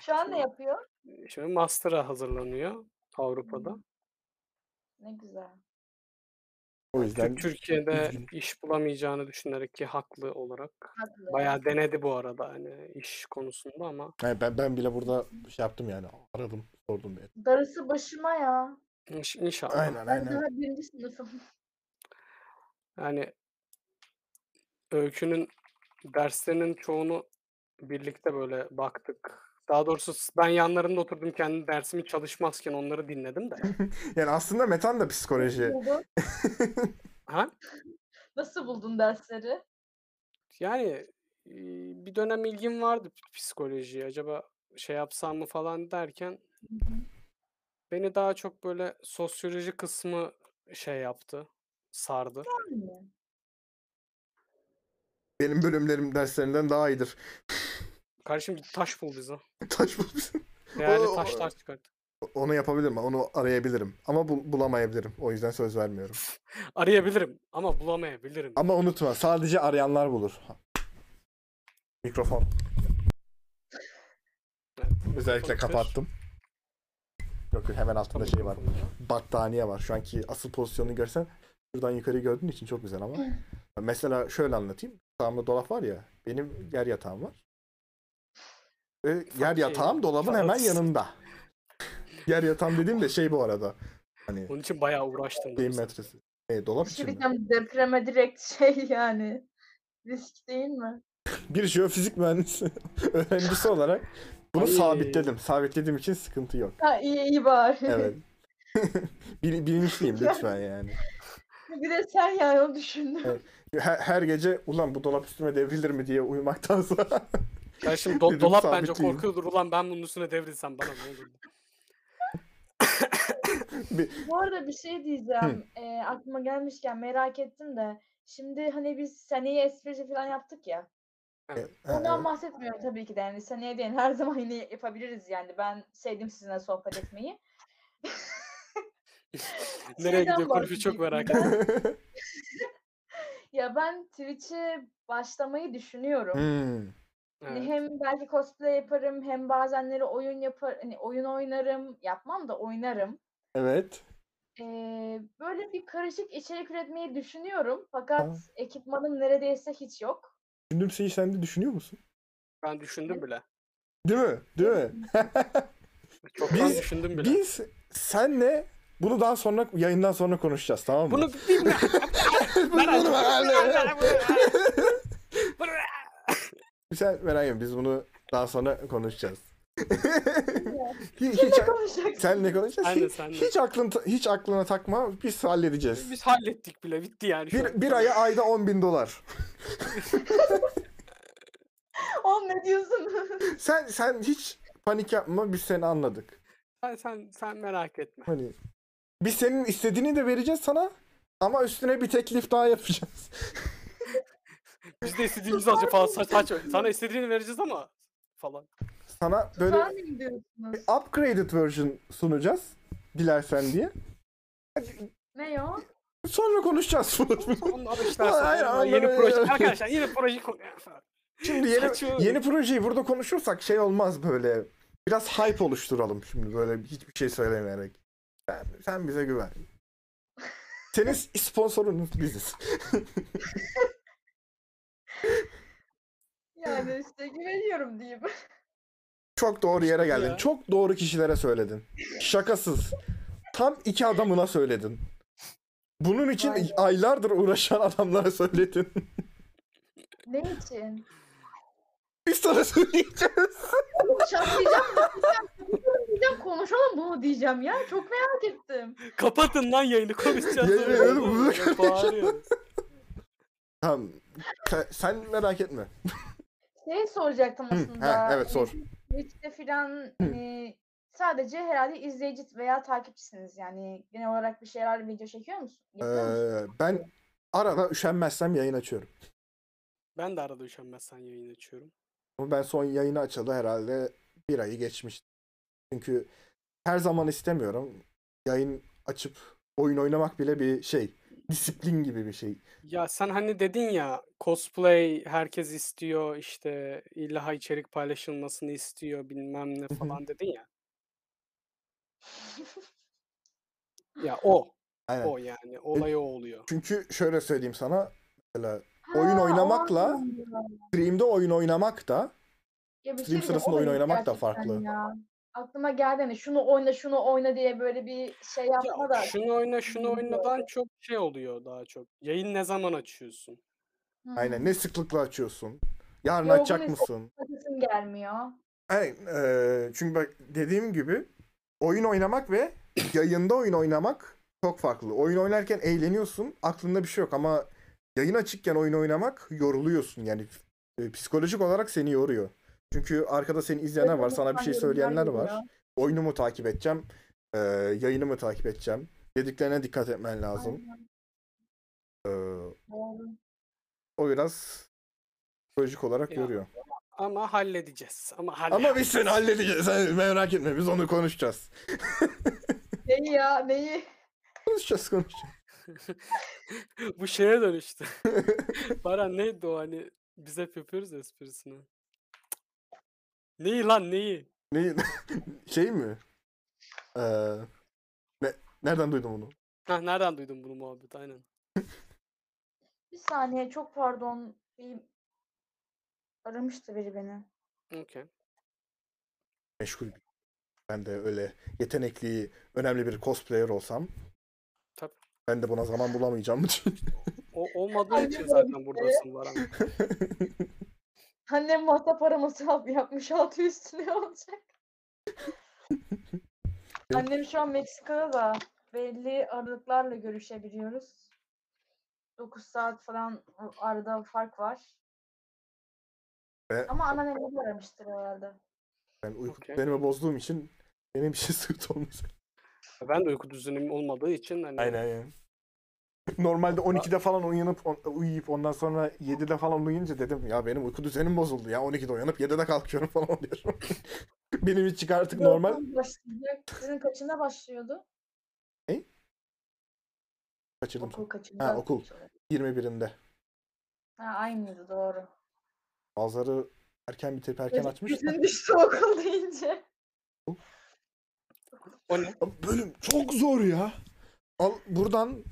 E: Şu an ne yapıyor?
C: şimdi master'a hazırlanıyor Avrupa'da.
E: Ne güzel.
A: o
C: Tür-
A: yüzden
C: Türkiye'de
A: üzgünüm.
C: iş bulamayacağını düşünerek ki haklı olarak
E: Haklı.
C: bayağı denedi bu arada hani iş konusunda ama
A: Yani ben ben bile burada şey yaptım yani aradım sordum. bir.
E: Darısı başıma ya.
C: inş- inşallah
A: Aynen
E: Ben
A: aynen.
E: daha birinci sınıfım.
C: yani öykünün derslerinin çoğunu birlikte böyle baktık. Daha doğrusu s- ben yanlarında oturdum kendi dersimi çalışmazken onları dinledim de.
A: Yani aslında metan da psikoloji.
E: Oldu.
C: Ha?
E: Nasıl buldun dersleri?
C: Yani e, bir dönem ilgim vardı p- psikolojiye. Acaba şey yapsam mı falan derken beni daha çok böyle sosyoloji kısmı şey yaptı, sardı.
A: Benim bölümlerim derslerinden daha iyidir.
C: Kardeşim git taş bul bize.
A: Taş bul bizim.
C: Değerli
A: Oo.
C: taşlar çıkart.
A: Onu yapabilirim. Onu arayabilirim. Ama bul- bulamayabilirim. O yüzden söz vermiyorum.
C: Arayabilirim ama bulamayabilirim.
A: Ama unutma sadece arayanlar bulur. Mikrofon. Özellikle
C: Mikrofonu kır.
A: kapattım. Yok yok hemen altında
C: Tam
A: şey var.
C: mikrofonu.
A: Battaniye var. Şu anki asıl pozisyonunu görsen şuradan yukarı gördüğün için çok güzel ama. Mesela şöyle anlatayım. Sağımda dolap var ya. Benim yer yatağım var. Ve yer
C: Fakir.
A: yatağım dolabın hemen
C: Fakir.
A: yanında. yer yatağım dediğim de şey bu arada. Hani
C: Onun için bayağı uğraştım.
A: şeyin
C: doğrusu.
A: metresi. E, dolap için mi?
E: Gerçekten depreme direkt şey yani. Risk değil mi?
A: bir jeofizik mühendisi öğrencisi olarak bunu
C: Ay.
A: sabitledim. Sabitlediğim için sıkıntı yok.
E: Ha iyi iyi bari.
A: Evet. Bil- bilinçliyim lütfen yani.
E: bir de sen yani onu düşündüm.
A: Evet. Her, her gece ulan bu dolap üstüme devrilir mi diye uyumaktansa
C: Kardeşim do-
A: Dedim,
C: dolap bence
A: sabitleyeyim.
C: korkuyordur. Ulan ben bunun üstüne devrilsem bana ne olur.
E: Bu arada bir şey diyeceğim. Ee, aklıma gelmişken merak ettim de. Şimdi hani biz seneye esprisi falan yaptık ya. Ondan bahsetmiyorum tabii ki de. Yani seneye değil her zaman yine yapabiliriz yani. Ben sevdim sizinle sohbet etmeyi.
C: Nereye
E: Şeyden
C: gidiyor konuşu çok merak
E: bahsedeyim
C: ediyorum.
E: Ya ben Twitch'e başlamayı düşünüyorum.
A: Hmm.
E: Hani
C: Evet.
E: hem belki cosplay yaparım hem bazenleri oyun yapar hani oyun oynarım yapmam da oynarım.
A: Evet.
E: Ee, böyle bir karışık içerik üretmeyi düşünüyorum fakat ekipmanım neredeyse hiç yok.
A: Düşündüğüm şeyi sen de düşünüyor musun?
C: Ben düşündüm bile.
A: Değil mi? Değil mi?
C: Çoktan
A: Biz-
C: düşündüm bile.
A: Biz senle bunu daha sonra yayından sonra konuşacağız tamam mı?
C: Bunu bilmiyorum.
A: Bunu- bunu- Sen merak etme biz bunu daha sonra konuşacağız. hiç, hiç,
E: Konuşacaksın.
A: sen ne konuşacağız?
C: Aynen,
A: hiç,
C: sen de.
A: hiç aklın hiç aklına takma. Biz halledeceğiz.
C: Biz hallettik bile bitti yani. şu an.
A: Bir, bir aya ayda 10 bin dolar.
E: Oğlum ne diyorsun?
A: Sen sen hiç panik yapma biz seni anladık.
C: Sen, sen, sen merak etme.
A: Hani biz senin istediğini de vereceğiz sana ama üstüne bir teklif daha yapacağız.
C: Biz de istediğimizi alacağız falan saç saç. Sana istediğini vereceğiz ama falan.
A: Sana böyle E,
E: Tuzağa mı diyorsunuz?
A: bir upgraded version sunacağız dilersen diye.
E: Ne o?
A: Sonra konuşacağız bunu.
C: Onlar işler
A: Hayır,
C: sonra
A: hayır,
C: yeni
A: hayır,
C: proje.
A: hayır.
C: Arkadaşlar yeni proje konuyor falan.
A: Şimdi yeni
C: Saçma.
A: yeni projeyi burada konuşursak şey olmaz böyle. Biraz hype oluşturalım şimdi böyle hiçbir şey söylemeyerek. Sen, sen bize güven. Senin sponsorunuz biziz.
E: Yani işte güveniyorum diyeyim.
A: Çok doğru yere geldin.
C: Ya.
A: Çok doğru kişilere söyledin. Şakasız. Tam iki adamına söyledin. Bunun için
E: Vay be.
A: aylardır uğraşan adamlara söyledin.
E: Ne için?
A: Biz sana söyleyeceğiz.
E: Konuşamayacağım. diyeceğim, konuşalım bunu diyeceğim ya. Çok merak ettim.
C: Kapatın lan yayını konuşacağız.
A: Yemin
C: sonra.
A: ederim, bunu
C: Böyle bağırıyoruz.
A: Tamam. Sen, sen merak etme.
E: Şey soracaktım
A: Hı,
E: aslında.
A: ha, evet sor.
E: Twitch'te filan hani sadece herhalde izleyici veya takipçisiniz yani genel olarak bir şeyler video çekiyor musun? Yapıyor musun?
A: Ee, ben arada üşenmezsem yayın açıyorum.
C: Ben de arada üşenmezsen yayın açıyorum.
A: Ama ben son yayını açalı herhalde bir ayı geçmişti. Çünkü her zaman istemiyorum. Yayın açıp oyun oynamak bile bir şey. Disiplin gibi bir şey.
C: Ya sen hani dedin ya cosplay herkes istiyor işte illa içerik paylaşılmasını istiyor bilmem ne
A: hı.
C: falan dedin ya. Ya o.
A: Aynen.
C: O yani. Olay o oluyor.
A: Çünkü şöyle söyleyeyim sana. Mesela Ee, oyun
E: Ha, o
A: oynamakla-
E: anlamda.
A: stream'de oyun oynamak da
E: Ya bir
A: stream
E: diyeceğim,
A: sırasında
E: o da
A: oyun
E: iyi
A: oynamak da
E: gerçekten
A: farklı.
E: ya. Aklıma geldi hani şunu oyna şunu oyna diye böyle bir şey yapma da.
C: Ya şunu oyna şunu
E: bilmiyorum.
C: oynadan çok şey oluyor daha çok. Yayın ne zaman açıyorsun?
E: Hı,
A: aynen ne sıklıkla açıyorsun? Yarın
E: Yorgun
A: açacak
E: hissediyorum.
A: mısın?
E: Sesim gelmiyor.
A: Aynen. eee, çünkü bak dediğim gibi oyun oynamak ve yayında oyun oynamak çok farklı. Oyun oynarken eğleniyorsun. Aklında bir şey yok ama yayın açıkken oyun oynamak yoruluyorsun yani e, psikolojik olarak seni yoruyor. Çünkü arkada seni izleyenler var, sana bir şey söyleyenler var. Oyunumu takip edeceğim, e, yayınımı takip edeceğim. Dediklerine dikkat etmen lazım. E, o biraz psikolojik olarak
C: Ya,
A: yoruyor.
C: Ama halledeceğiz. Ama halledeceğiz.
A: Ama biz seni halledeceğiz. Sen merak etme. Biz onu konuşacağız.
E: Neyi ya neyi?
A: Konuşacağız konuşacağız.
C: Bu şeye dönüştü. Para neydi o hani biz hep yapıyoruz ya esprisini. Neyi lan neyi?
A: Ne, şey mi? Ee, ne, nereden duydum onu?
C: Ha, nereden duydun bunu muhabbet aynen.
E: Bir saniye çok pardon. Bir... Aramıştı biri beni.
C: Okey.
A: Meşgul. bir- Ben de öyle yetenekli, önemli bir cosplayer olsam.
C: Tabii.
A: Ben de buna zaman bulamayacağım.
C: O olmadığı
E: Aynen
C: için
E: öyle
C: zaten buradasın Baran.
E: Annem muhtap araması yap- yapmış altı üstüne olacak. Annem şu an Meksika'da da belli aralıklarla görüşebiliyoruz. 9 saat falan arada fark var.
A: Ve-
E: Ama anneannemi aramıştır herhalde.
A: ben uyku
C: Okey.
A: düzenimi bozduğum için benim bir şey sıkıntı olmaz.
C: Ben de uyku düzenim olmadığı için hani
A: yani. Normalde 12'de falan uyanıp on- uyuyup ondan sonra 7'de falan uyuyunca dedim ya benim uyku düzenim bozuldu ya 12'de uyanıp 7'de kalkıyorum falan diyorum. benim için artık normal.
E: Birazdan başlayacak. Sizin kaçında başlıyordu?
A: Kaçırdım.
E: Okul kaçında?
A: Ha, okul. 21'inde.
E: Ha, aynıydı doğru.
A: Bazıları erken bitirip erken açmış. da.
E: Gözün düştü okul deyince.
C: o ne?
A: Abi Bölüm çok zor ya. Al buradan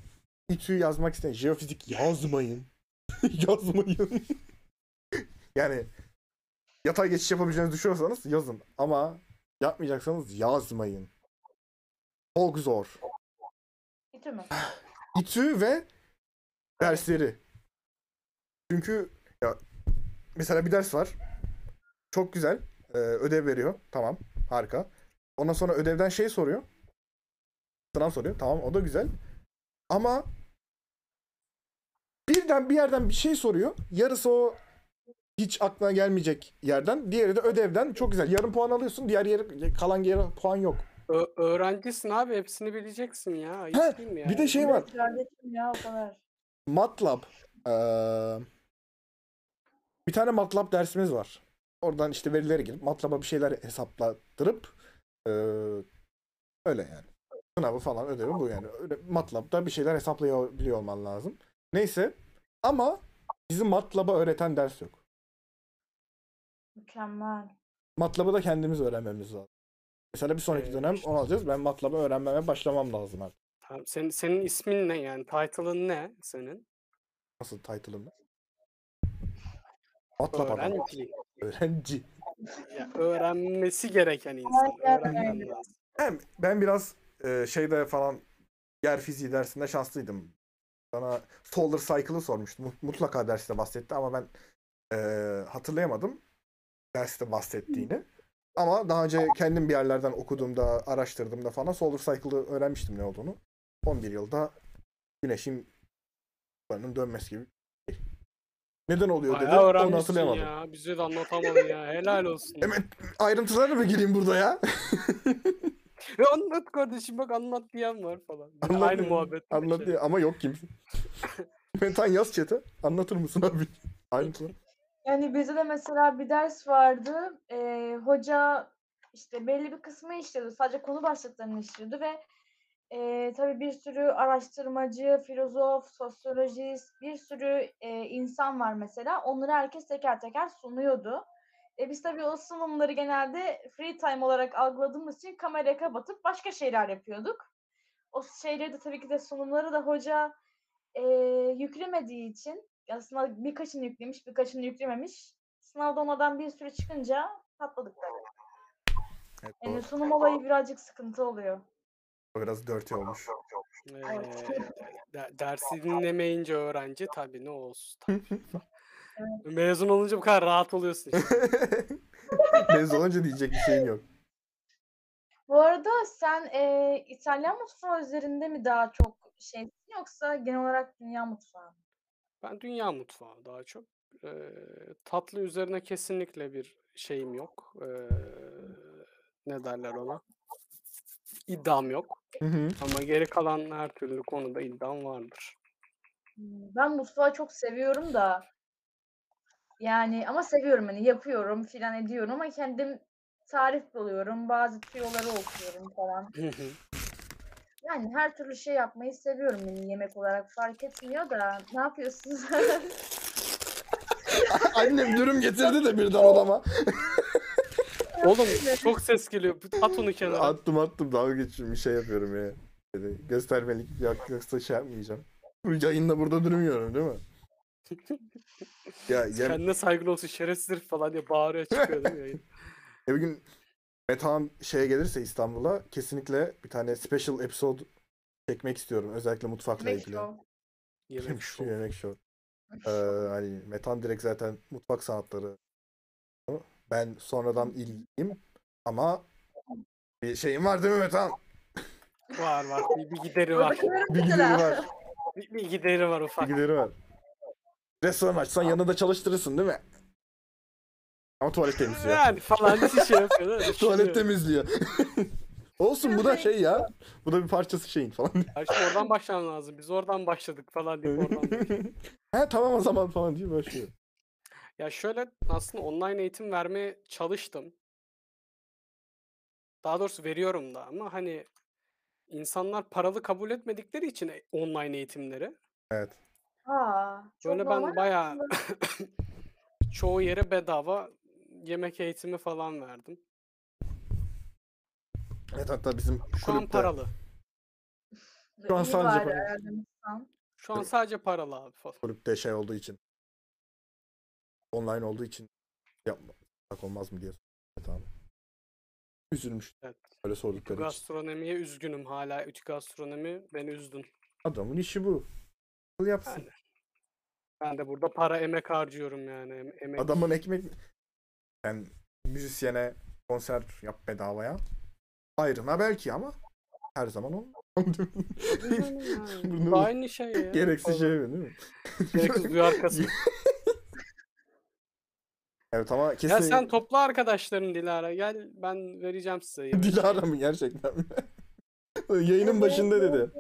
A: İTÜ yazmak isteyen jeofizik yazmayın. yazmayın. yani yatay geçiş yapabileceğinizi düşünüyorsanız yazın ama yapmayacaksanız yazmayın. Çok zor.
E: Bitti mi?
A: Ah. İTÜ ve dersleri. Çünkü ya mesela bir ders var. Çok güzel. Ee, ödev veriyor. Tamam. Harika. Ondan sonra ödevden şey soruyor. Sınav soruyor. Tamam o da güzel. Ama birden bir yerden bir şey soruyor. Yarısı o hiç aklına gelmeyecek yerden. Diğeri de ödevden. Çok güzel. Yarım puan alıyorsun. Diğer yeri kalan yere puan yok.
C: Ö- öğrencisin abi hepsini bileceksin ya. Ayıp
A: Ha,
C: değil mi
A: Bir de
C: yani? Hani
A: şey var.
E: Kardeşim ya o kadar.
A: MATLAB. eee, bir tane MATLAB dersimiz var. Oradan işte verilere girip MATLAB'a bir şeyler hesaplattırıp eee, öyle yani. Sınavı falan ödevi bu yani. Öyle MATLAB'da bir şeyler hesaplayabiliyor olman lazım. Neyse ama bizim MATLAB'a öğreten ders yok.
E: Mükemmel.
A: MATLAB'ı da kendimiz öğrenmemiz lazım. Mesela bir sonraki
C: Ee,
A: dönem
C: işte.
A: onu alacağız. Ben MATLAB'ı öğrenmeme başlamam lazım artık.
C: Tamam, senin, senin ismin ne yani? Title'ın ne senin?
A: Nasıl title'ım? ben? MATLAB adam.
C: Öğrenci.
A: Öğrenci.
C: Ya, öğrenmesi gereken insan.
E: Aynen
C: Öğrenmen
E: öyle.
C: lazım.
A: Hem ben biraz e, şeyde falan yer fiziği dersinde şanslıydım. Bana Solar Cycle'ı sormuştu. Mut- Mutlaka derste bahsetti ama ben e, hatırlayamadım derste bahsettiğini. Ama daha önce kendim bir yerlerden okuduğumda, araştırdığımda falan Solar Cycle'ı öğrenmiştim ne olduğunu. 11 yılda güneşin ışınlarının dönmesi gibi. bir şey. Neden oluyor dedi.
C: Bayağı
A: Onu
C: öğrenmişsin
A: hatırlayamadım. E,
C: ya. Bize de anlatamadın ya. Helal olsun.
A: Hemen ayrıntılara mı gireyim burada ya?
C: Ve anlat kardeşim bak anlat diyen var falan. Bir de Aynı
A: Anlatmıyor.
C: muhabbet.
A: Anladı ama yok kimse. Mentan yaz chat'e. Anlatır mısın abi? Aynı konu.
E: Yani bize de mesela bir ders vardı. Eee, hoca işte belli bir kısmı işliyordu. Sadece konu başlıklarını işliyordu ve eee tabii bir sürü araştırmacı, filozof, sosyolojist, bir sürü eee, insan var mesela. Onları herkes teker teker sunuyordu. E biz tabii o sunumları genelde free time olarak algıladığımız için kameraya kapatıp başka şeyler yapıyorduk. O şeyleri de tabii ki de sunumları da hoca eee, yüklemediği için aslında birkaçını yüklemiş, birkaçını yüklememiş. Sınavda onlardan bir sürü çıkınca patladık tabii.
A: Evet,
E: Yani sunum olayı birazcık sıkıntı oluyor.
A: doğru. Biraz dirty olmuş.
E: Evet.
C: dersi Ee, dinlemeyince öğrenci tabii ne olsun. tabii. Mezun olunca bu kadar rahat oluyorsun işte.
A: Mezun olunca diyecek bir şeyim yok.
E: Bu arada sen e, eee, İtalyan mutfağı üzerinde mi daha çok şeysin yoksa genel olarak dünya mutfağı? mı?
C: Ben dünya mutfağı daha çok. Eee, tatlı üzerine kesinlikle bir şeyim yok. Eee, ne derler ona? İddiam yok. Ama geri kalan her türlü konuda iddiam vardır.
E: Hmm, Ben mutfağı çok seviyorum da. Yani ama seviyorum hani yapıyorum filan ediyorum ama kendim tarif buluyorum. Bazı tüyoları okuyorum falan. Yani her türlü şey yapmayı seviyorum yani yemek olarak fark etmiyor da ne yapıyorsunuz?
A: Annem dürüm getirdi de birden odama.
C: Oğlum çok ses geliyor. At onu kenara.
A: Attım attım dalga geçiyorum bir şey yapıyorum ya. Dedi, göstermelik yok- yoksa şey yapmayacağım. Bu Yayında burada durmuyorum değil mi? ya, ya
C: Kendine saygılı olsun şerefsizdir falan diye bağırıyor çıkıyor değil mi yayın?
A: E bir gün Metehan şeye gelirse İstanbul'a kesinlikle bir tane special episode çekmek istiyorum. Özellikle mutfakla
E: Yemek
A: ilgili.
E: şov.
C: Yemek
A: Şu
C: şovu.
A: Yemek show. Ee, hani Metehan direkt zaten mutfak sanatları. Ben sonradan ilgiliyim ama bir şeyim var değil mi Metehan?
C: Var var. Bir, bir gideri var.
E: Buradaki benim
A: Bilgileri
E: mesela.
A: var.
C: Bir, bir gideri var ufak.
A: Bilgileri var. Restoran açsan yanında çalıştırırsın değil mi? Ama tuvalet temizliyor.
C: Yani falan bir şey yapıyor. değil mi?
A: tuvalet
C: Düşünüyor.
A: temizliyor. Olsun bu da şey ya. Bu da bir parçası şeyin falan.
C: Her şey oradan başlamam lazım. Biz oradan başladık falan diye oradan başladık.
A: He tamam o zaman falan diye şey başlıyor.
C: Ya şöyle aslında online eğitim vermeye çalıştım. Daha doğrusu veriyorum da ama hani insanlar paralı kabul etmedikleri için e- online eğitimleri.
A: Evet.
E: Aa, çok
C: Böyle
E: normal.
C: ben bayağı çoğu yere bedava yemek eğitimi falan verdim.
A: Evet hatta bizim
C: Şu an
A: kulüpte
C: paralı.
A: Şu an
E: İyi
A: sadece
E: bari
A: para-
E: herhalde.
C: Şu an sadece paralı abi falan.
A: kulüpte şey olduğu için online olduğu için yapma yapsak olmaz mı diye sordum. Evet abi. Üzülmüş.
C: Evet.
A: Öyle sordukları için.
C: Gastronomiye üzgünüm hala. Ütü gastronomi beni üzdün.
A: Adamın işi bu. Nasıl yapsın?
C: Yani. Ben de burada para emek harcıyorum yani. em- Emek.
A: Adamın ekmek ben müzisyene konser yap bedavaya. Ayrına belki ama her zaman olmaz. Bunu-
C: Aynı şey ya.
A: Gereksiz şey
C: falan.
A: değil mi?
C: Gereksiz duyar kasma.
A: evet ama kesin.
C: Ya sen topla arkadaşların Dilara. Gel ben vereceğim size yemek.
A: Dilara mı gerçekten? Yayının başında dedi.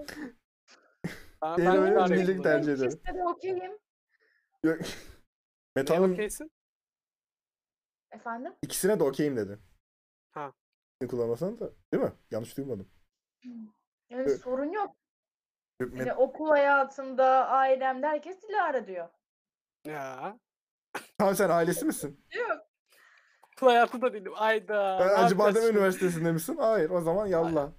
C: Ben, ben
A: Dilara
C: Dilara'yı
A: diyecek
C: bulurum.
A: tercih ederim.
E: Siz de okeyim.
A: Yok.
C: Neye
A: Metan'ın
C: okeysin?
E: Efendim?
A: ikisine de okeyim dedi.
C: Ha.
A: İkisini kullanmasan da değil mi? Yanlış duymadım.
E: Yani
A: Evet.
E: sorun yok.
A: Yok, Met-
E: Yani okul hayatımda, ailemde herkes Dilara diyor.
C: Ya.
A: Tamam sen ailesi misin?
C: Okul hayatı da değilim. Ayda.
A: Ee,
C: ne yapacağız
A: Acıbadem
C: şimdi?
A: Üniversitesi'nde misin? Hayır o zaman yallah.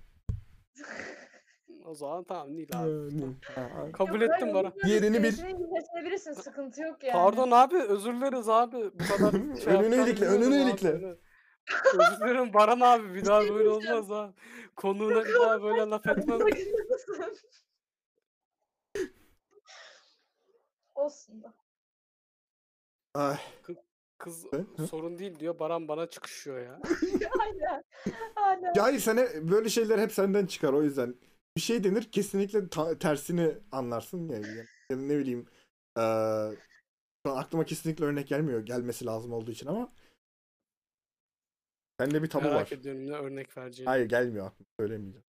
C: O zaman tamam Nil abi.
A: Ee, ne? Ha, ay.
C: Kabul
E: Yok,
C: ettim
E: hayır,
C: bana.
E: onun böyle
A: Yerini bil.
E: içine geçirebilirsin, sıkıntı yok yani.
C: Pardon abi özür dileriz abi. Bu kadar şey
A: Önünü
C: yapacağını
A: ilikle, önünü
C: bilmiyordum abi,
A: ilikle.
C: öyle. Özür dilerim Baran abi bir daha böyle
A: şey
C: olmaz ha. Konuğuna bir daha böyle laf etmem.
E: Olsun da.
A: Ay.
C: Kız
A: Hı?
C: sorun değil diyor Baran bana çıkışıyor ya.
E: Aynen. Aynen.
A: Ya hayır sene böyle şeyler hep senden çıkar o yüzden. Bir şey denir kesinlikle ta- tersini anlarsın ya. Ya- ya da ne bileyim. eee, şu an aklıma kesinlikle örnek gelmiyor. Gelmesi lazım olduğu için ama. Sende bir tabu
C: Merak
A: var.
C: ediyorum ne örnek vereceğini.
A: Hayır gelmiyor aklıma. Söylemeyeceğim.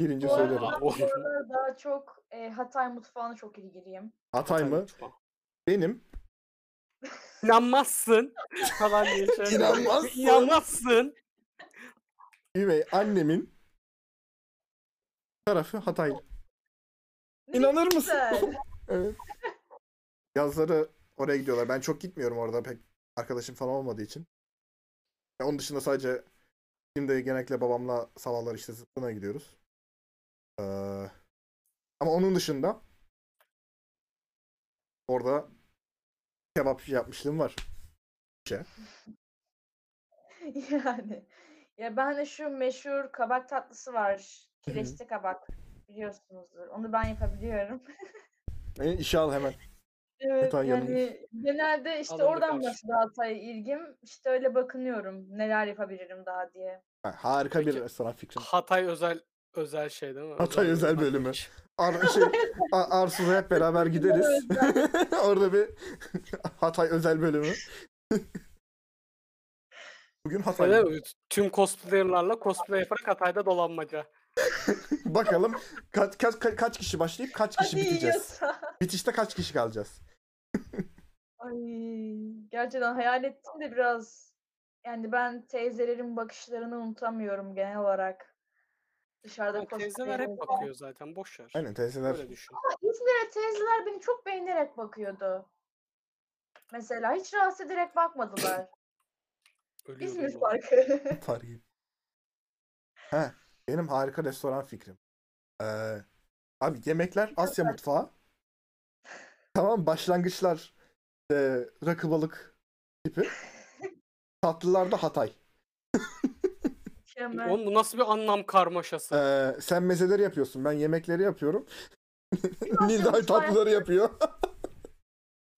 A: Birinci
E: Bu arada-
A: söylerim.
C: Aa, oğlum.
E: Bu aralar daha çok e, Hatay mutfağına çok ilgiliyim.
A: Hatay mı?
C: Tamam.
A: Benim.
C: İnanmazsın falan diye şey.
A: İnanmazsın.
C: İnanmazsın.
A: Üvey annemin tarafı Hatay.
E: Ne
A: İnanır mısın?
E: güzel.
A: Evet. Yazları oraya gidiyorlar. Ben çok gitmiyorum orada pek arkadaşım falan olmadığı için. Ya onun dışında sadece şimdi genellikle babamla sabahlar işte zıplana gidiyoruz. Ee, ama onun dışında orada kebap yapmışlığım var.
E: yani. Ya ben de şu meşhur kabak tatlısı var.
A: Hı hı.
E: Kireçli kabak. Biliyorsunuzdur. Onu ben yapabiliyorum.
A: E, işe al hemen.
E: Evet
A: Hatay yanılır.
E: yani genelde işte
C: Alındı
E: oradan
C: karşı.
E: başladı Hatay'a ilgim. İşte öyle bakınıyorum neler yapabilirim daha diye.
A: Ha, harika bir
C: Peki.
A: restoran fikri.
C: Hatay özel özel şey değil mi?
A: Hatay özel bölümü.
C: şey.
A: Ar şey, A- Arsuz'a hep beraber gideriz. Orada bir Hatay özel bölümü. Bugün
C: Öyle
A: Hatay.
C: mi? Tüm cosplayerlarla cosplay yaparak Hatay'da dolanmaca.
A: Bakalım kaç, kaç, kaç- kaç kişi başlayıp kaç kişi
E: Hadi
A: biteceğiz.
E: yiyorsa.
A: Bitişte kaç kişi kalacağız.
E: Ay gerçekten hayal ettim de biraz yani ben teyzelerin bakışlarını unutamıyorum genel olarak. Dışarıda
C: Yani teyzeler
E: cosplay'in-
C: hep bakıyor zaten boş ver.
A: Aynen teyzeler.
C: Öyle düşün.
E: İzmir'e teyzeler beni çok beğenerek bakıyordu. Mesela hiç rahatsız ederek bakmadılar.
C: Ölüyorum
E: İzmir
C: bu.
E: farkı.
A: Fark et- He, benim harika restoran fikrim. Ee, abi yemekler Asya mutfağı. Tamam başlangıçlar e, rakı balık tipi. Tatlılar da Hatay.
E: Mükemmel.
C: Oğlum bu nasıl bir anlam karmaşası?
A: Ee, sen mezeleri yapıyorsun ben yemekleri yapıyorum. Nil de
E: mutfağı
A: tatlıları yapıyor.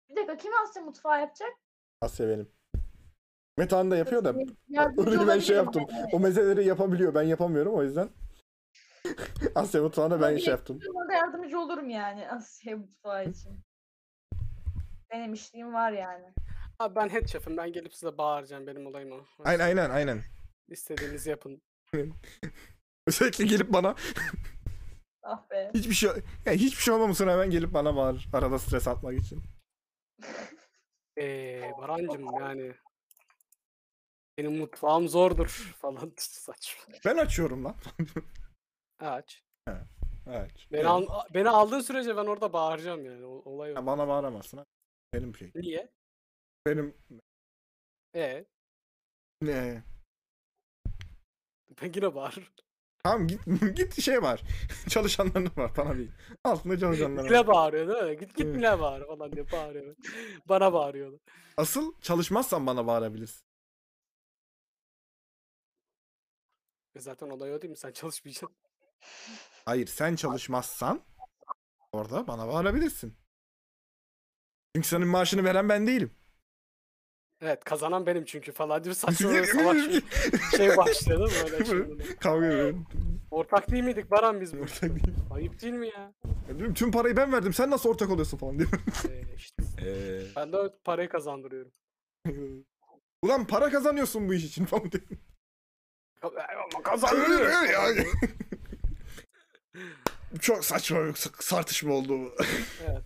E: Bir dakika kim Asya mutfağı yapacak?
A: Asya benim. Metehan da yapıyor da
E: Yardımcı
A: Orayı ben şey
E: olabilirim
A: yaptım. O mezeleri yapabiliyor. Ben yapamıyorum o yüzden. Asya mutfağına ben
E: Tabii.
A: şey yaptım.
E: ben. Orada yardımcı olurum yani Asya mutfağı için. Denemişliğim var yani.
C: Abi ben head chef'im ben gelip size bağıracağım benim olayım o.
A: Aynen aynen aynen.
C: İstediğinizi yapın.
A: Özellikle gelip bana
E: Ah be.
A: hiçbir şey yani hiçbir şey olmamasına hemen gelip bana bağır. Arada stres atmak için.
C: Eee Barancım yani. Benim mutfağım zordur falan saçma.
A: Ben açıyorum lan.
C: Aç.
A: Evet.
C: Beni, al- beni aldığın sürece ben orada bağıracağım yani. o- Olay o.
A: Ya bana bağıramazsın. ha. Benim şey.
C: Niye?
A: Benim
C: E
A: ne?
C: ben yine bağırırım.
A: Tamam git git şey var. Çalışanların var bana değil. Altında çalışanların var.
C: Mine bağırıyor değil mi? Git git
A: Evet.
C: Mine bağır falan diye bağırıyor. Bana bağırıyordu.
A: Asıl çalışmazsan bana bağırabilirsin.
C: E zaten olay o değil mi? Sen çalışmayacaksın.
A: Hayır sen çalışmazsan orada bana bağırabilirsin. Çünkü senin maaşını veren ben değilim.
C: Evet kazanan benim çünkü falan diye saçma bir savaş şey başladı böyle. şimdi.
A: Kavga ediyorum.
C: Ortak değil miydik Baran biz bu?
A: Ortak değil.
C: Ayıp değil mi ya?
A: Ya diyorum, Tüm parayı ben verdim. Sen nasıl ortak oluyorsun falan diyor.
C: Ee, işte ben de o parayı kazandırıyorum.
A: Ulan para kazanıyorsun bu iş için falan diyor.
C: Ama
A: Öyle
C: kazanıyorum.
A: yani. Çok saçma bir tartışma oldu. bu.
C: Evet.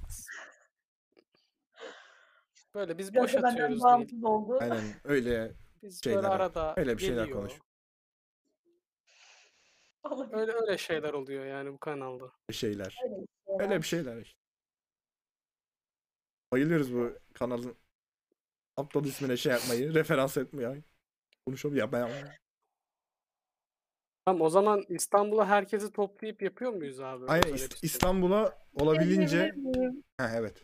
C: Böyle biz
E: Biraz
C: boş
E: da benden
C: atıyoruz değil.
E: bağımsız oldu.
A: Aynen öyle.
C: Biz
A: şeyler
C: böyle
A: var.
C: arada
A: Öyle bir şeyler
C: geliyor.
A: konuş.
E: Olabilir.
C: Öyle öyle şeyler oluyor yani bu kanalda.
A: Şeyler.
E: Öyle
A: Öyle bir şeyler işte. Bayılıyoruz bu kanalın aptal ismine şey yapmayı, referans etmeyi. Konuşalım ya ben.
C: Tamam o zaman İstanbul'a herkesi toplayıp yapıyor muyuz abi?
A: Aynen
C: Özel
A: İst-
C: episode?
A: İstanbul'a
E: Diyebilir
A: olabildiğince.
E: miyim?
A: Ha evet.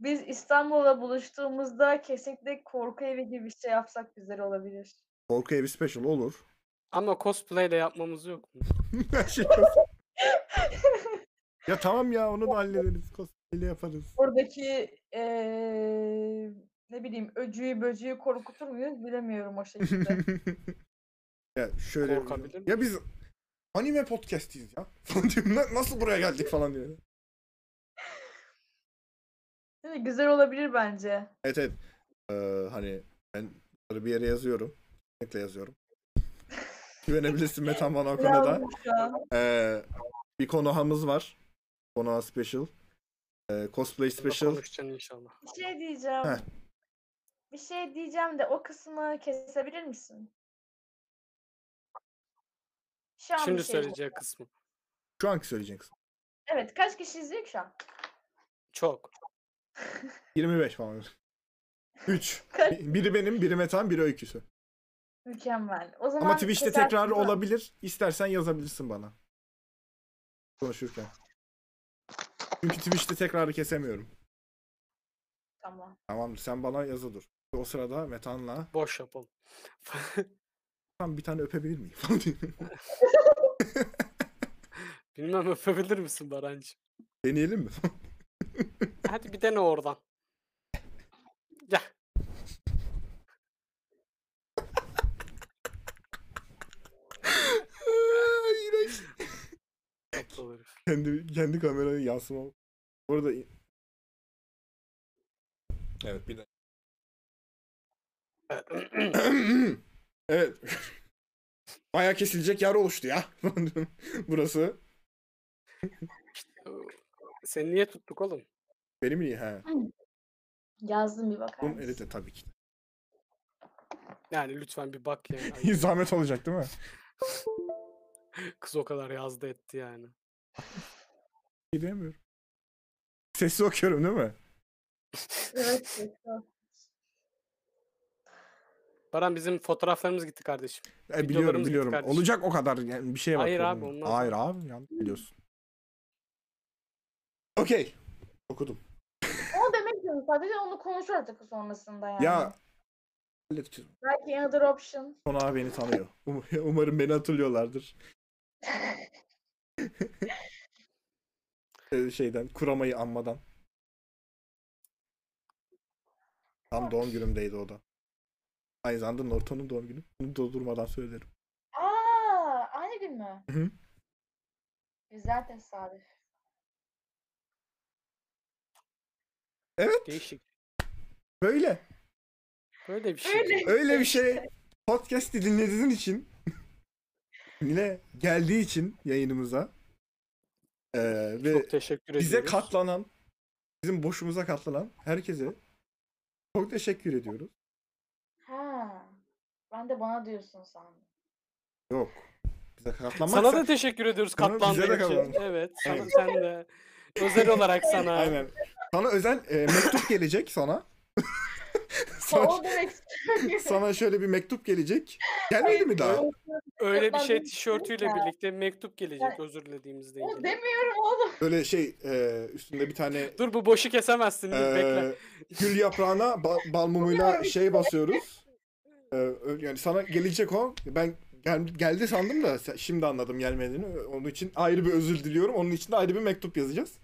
E: Biz İstanbul'la buluştuğumuzda kesinlikle korku evi gibi bir şey yapsak güzel olabilir.
A: Korku evi special olur.
C: Ama cosplay de yapmamız yok mu?
A: Her şey- ya tamam ya onu da hallederiz. Cosplay'le yaparız.
E: Oradaki eee, ne bileyim öcüyü böcüyü korkutur muyuz bilemiyorum o şekilde.
A: ya şöyle.
C: Korkabilir miyim?
A: Ya biz anime podcastiyiz ya. Falan diyorum, "Na- Nasıl buraya geldik falan diyor.
E: Değil mi? güzel olabilir bence.
A: Evet evet. Ee, hani ben bunları bir yere yazıyorum. Kesinlikle yazıyorum. Güvenebilirsin Metan bana o konuda.
E: Lazım şu an.
A: Ee, bir konuğumuz var. Konuğa special. Ee, cosplay
C: Bunu da
A: special.
C: Konuşacaksın inşallah.
E: Bir şey diyeceğim.
A: Heh.
E: Bir şey diyeceğim de o kısmı kesebilir misin? Şu an
C: Şimdi
E: bir şey diyeceğim.
C: söyleyecek kısmı.
A: Şu anki söyleyeceksin.
E: Evet kaç kişi izliyor ki şu an?
C: Çok.
A: 25 falan. 3.
E: Kaç?
A: Biri benim, biri Metan, biri öyküsü.
E: Mükemmel. O zaman
A: Ama Twitch'te
E: kesersin
A: tekrar
E: değil mi?
A: olabilir. İstersen yazabilirsin bana. Konuşurken. Çünkü Twitch'te tekrarı kesemiyorum.
E: Tamam.
A: Tamamdır sen bana yazı dur. O sırada Metan'la
C: Boş yapalım.
A: tam bir tane öpebilir miyim? falan diyor.
C: Bilmem öpebilir misin Barancı?
A: Deneyelim mi?
C: Hadi bir dene oradan. Gel.
A: Iğrenç. kendi kendi kameraya yansıma. Bu arada Evet bir dakika. evet. Bayağı kesilecek yer oluştu ya. Burası.
C: Seni niye tuttuk oğlum?
A: Benim iyi ha.
E: Yazdım bir bakar
A: Bunun
E: mısın?
A: editi tabii ki.
C: Yani lütfen bir bak yani. Ay,
A: Zahmet olacak değil mi?
C: Kız o kadar yazdı etti yani.
A: Gidemiyorum. Sesli okuyorum değil mi?
E: Evet. sesli.
C: Baran bizim fotoğraflarımız gitti kardeşim.
A: E, biliyorum
C: Videolarımız gitti
A: biliyorum.
C: kardeşim.
A: Olacak o kadar yani bir şeye
C: Hayır
A: bakıyorum.
C: abi, ondan
A: Hayır abi yanlış biliyorsun. Okey. Okudum.
E: Onu demek istiyorum sadece onu konuşur artık sonrasında yani.
A: Ya halledeceğiz.
E: Belki another option.
A: Son abi beni tanıyor. Um- Umarım beni hatırlıyorlardır. Ee, şeyden kuramayı anmadan. Tam doğum günümdeydi o da. Aynı zamanda Norton'un doğum günü. Bunu da durmadan söylerim.
E: Aa, aynı gün mü?
A: Hı hı.
E: Güzel tesadüf.
A: Evet
C: Değişik.
A: böyle.
C: Böyle bir şey.
A: Öyle bir şey. Podcast'i dinlediğin için yine geldiği için yayınımıza ee, ve
C: Çok teşekkür ediyoruz.
A: bize katlanan bizim boşumuza katlanan herkese çok teşekkür ediyoruz.
E: Ha. Ben de bana diyorsun sandım.
A: Yok. Bize katlanmak
C: Sana da teşekkür ediyoruz
A: Sana- bize de
C: katlandığın için.
A: katlandın.
C: Evet. sana-
A: Aynen.
C: sen de. Özel olarak sana.
A: Aynen. Sana özel e, mektup gelecek sana. sana,
E: O demek istiyorum.
A: sana şöyle bir mektup gelecek. Gelmedi mi daha?
C: Öyle bir şey
E: Katlandığın için
C: tişörtüyle
E: ya.
C: birlikte mektup gelecek özür dilediğimizde
E: O
C: ilgili.
E: demiyorum oğlum.
A: Böyle şey e, üstünde bir tane
C: Dur bu boşu kesemezsin. dur, Bekle.
A: Ee, gül yaprağına ba- bal mumuyla şey basıyoruz. Ee, ö- yani sana gelecek o. Ben gel- geldi sandım da se- şimdi anladım gelmediğini. Onun için ayrı bir özür diliyorum. Onun için de ayrı bir mektup yazacağız.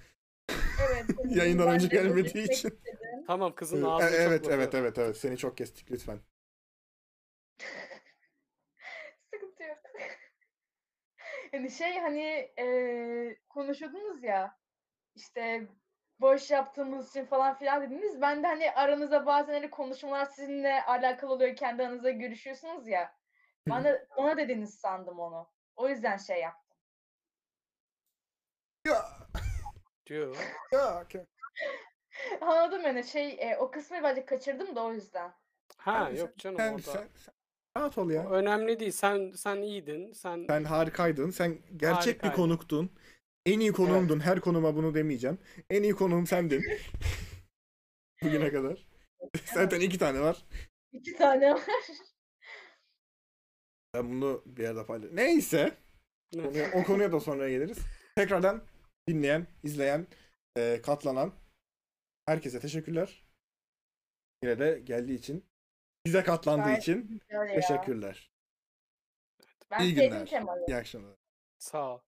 E: Evet.
A: Yayından
E: Ben
A: önce
E: de özür
A: gelmediği
E: dilemek
A: için.
E: istedim.
C: Tamam kızın
A: Ee,
C: ağzını çok
A: evet
C: bozuyor.
A: evet evet evet seni çok kestik lütfen.
E: Sıkıntı yok. Yani şey hani eee konuşuyordunuz ya işte boş yaptığımız için falan filan dediniz. Ben de hani aranıza bazen hani konuşmalar sizinle alakalı oluyor. Kendi aranızda görüşüyorsunuz ya. Bana, ona dediniz sandım onu. O yüzden şey yaptım.
A: Ya,
C: Diyor.
A: ya, ya.
E: Anladım yani şey e, o kısmı bence kaçırdım da o yüzden.
C: Ha
A: Sen-
C: yok canım
A: Sen,
C: orada.
A: sen- sen rahat ol ya.
C: Önemli değil. Sen sen iyiydin. Sen
A: Sen harikaydın. Sen gerçek
C: Harikaydın.
A: bir konuktun. En iyi konuğumdun. Her konuma bunu demeyeceğim. En iyi konuğum sendin. Bugüne kadar. Zaten iki tane var.
E: İki tane var.
A: Ben bunu bir yerde paylaş. Neyse. Konuya- o konuya da sonra geliriz. Tekrardan dinleyen, izleyen, e, katlanan herkese teşekkürler. Yine de geldiği için, bize katlandığı
E: Gayet
A: için
E: Öyle ya.
A: teşekkürler.
E: Ben
A: İyi
E: sevdim
A: günler.
E: Kemal'i.
A: İyi akşamlar.
C: sağ ol.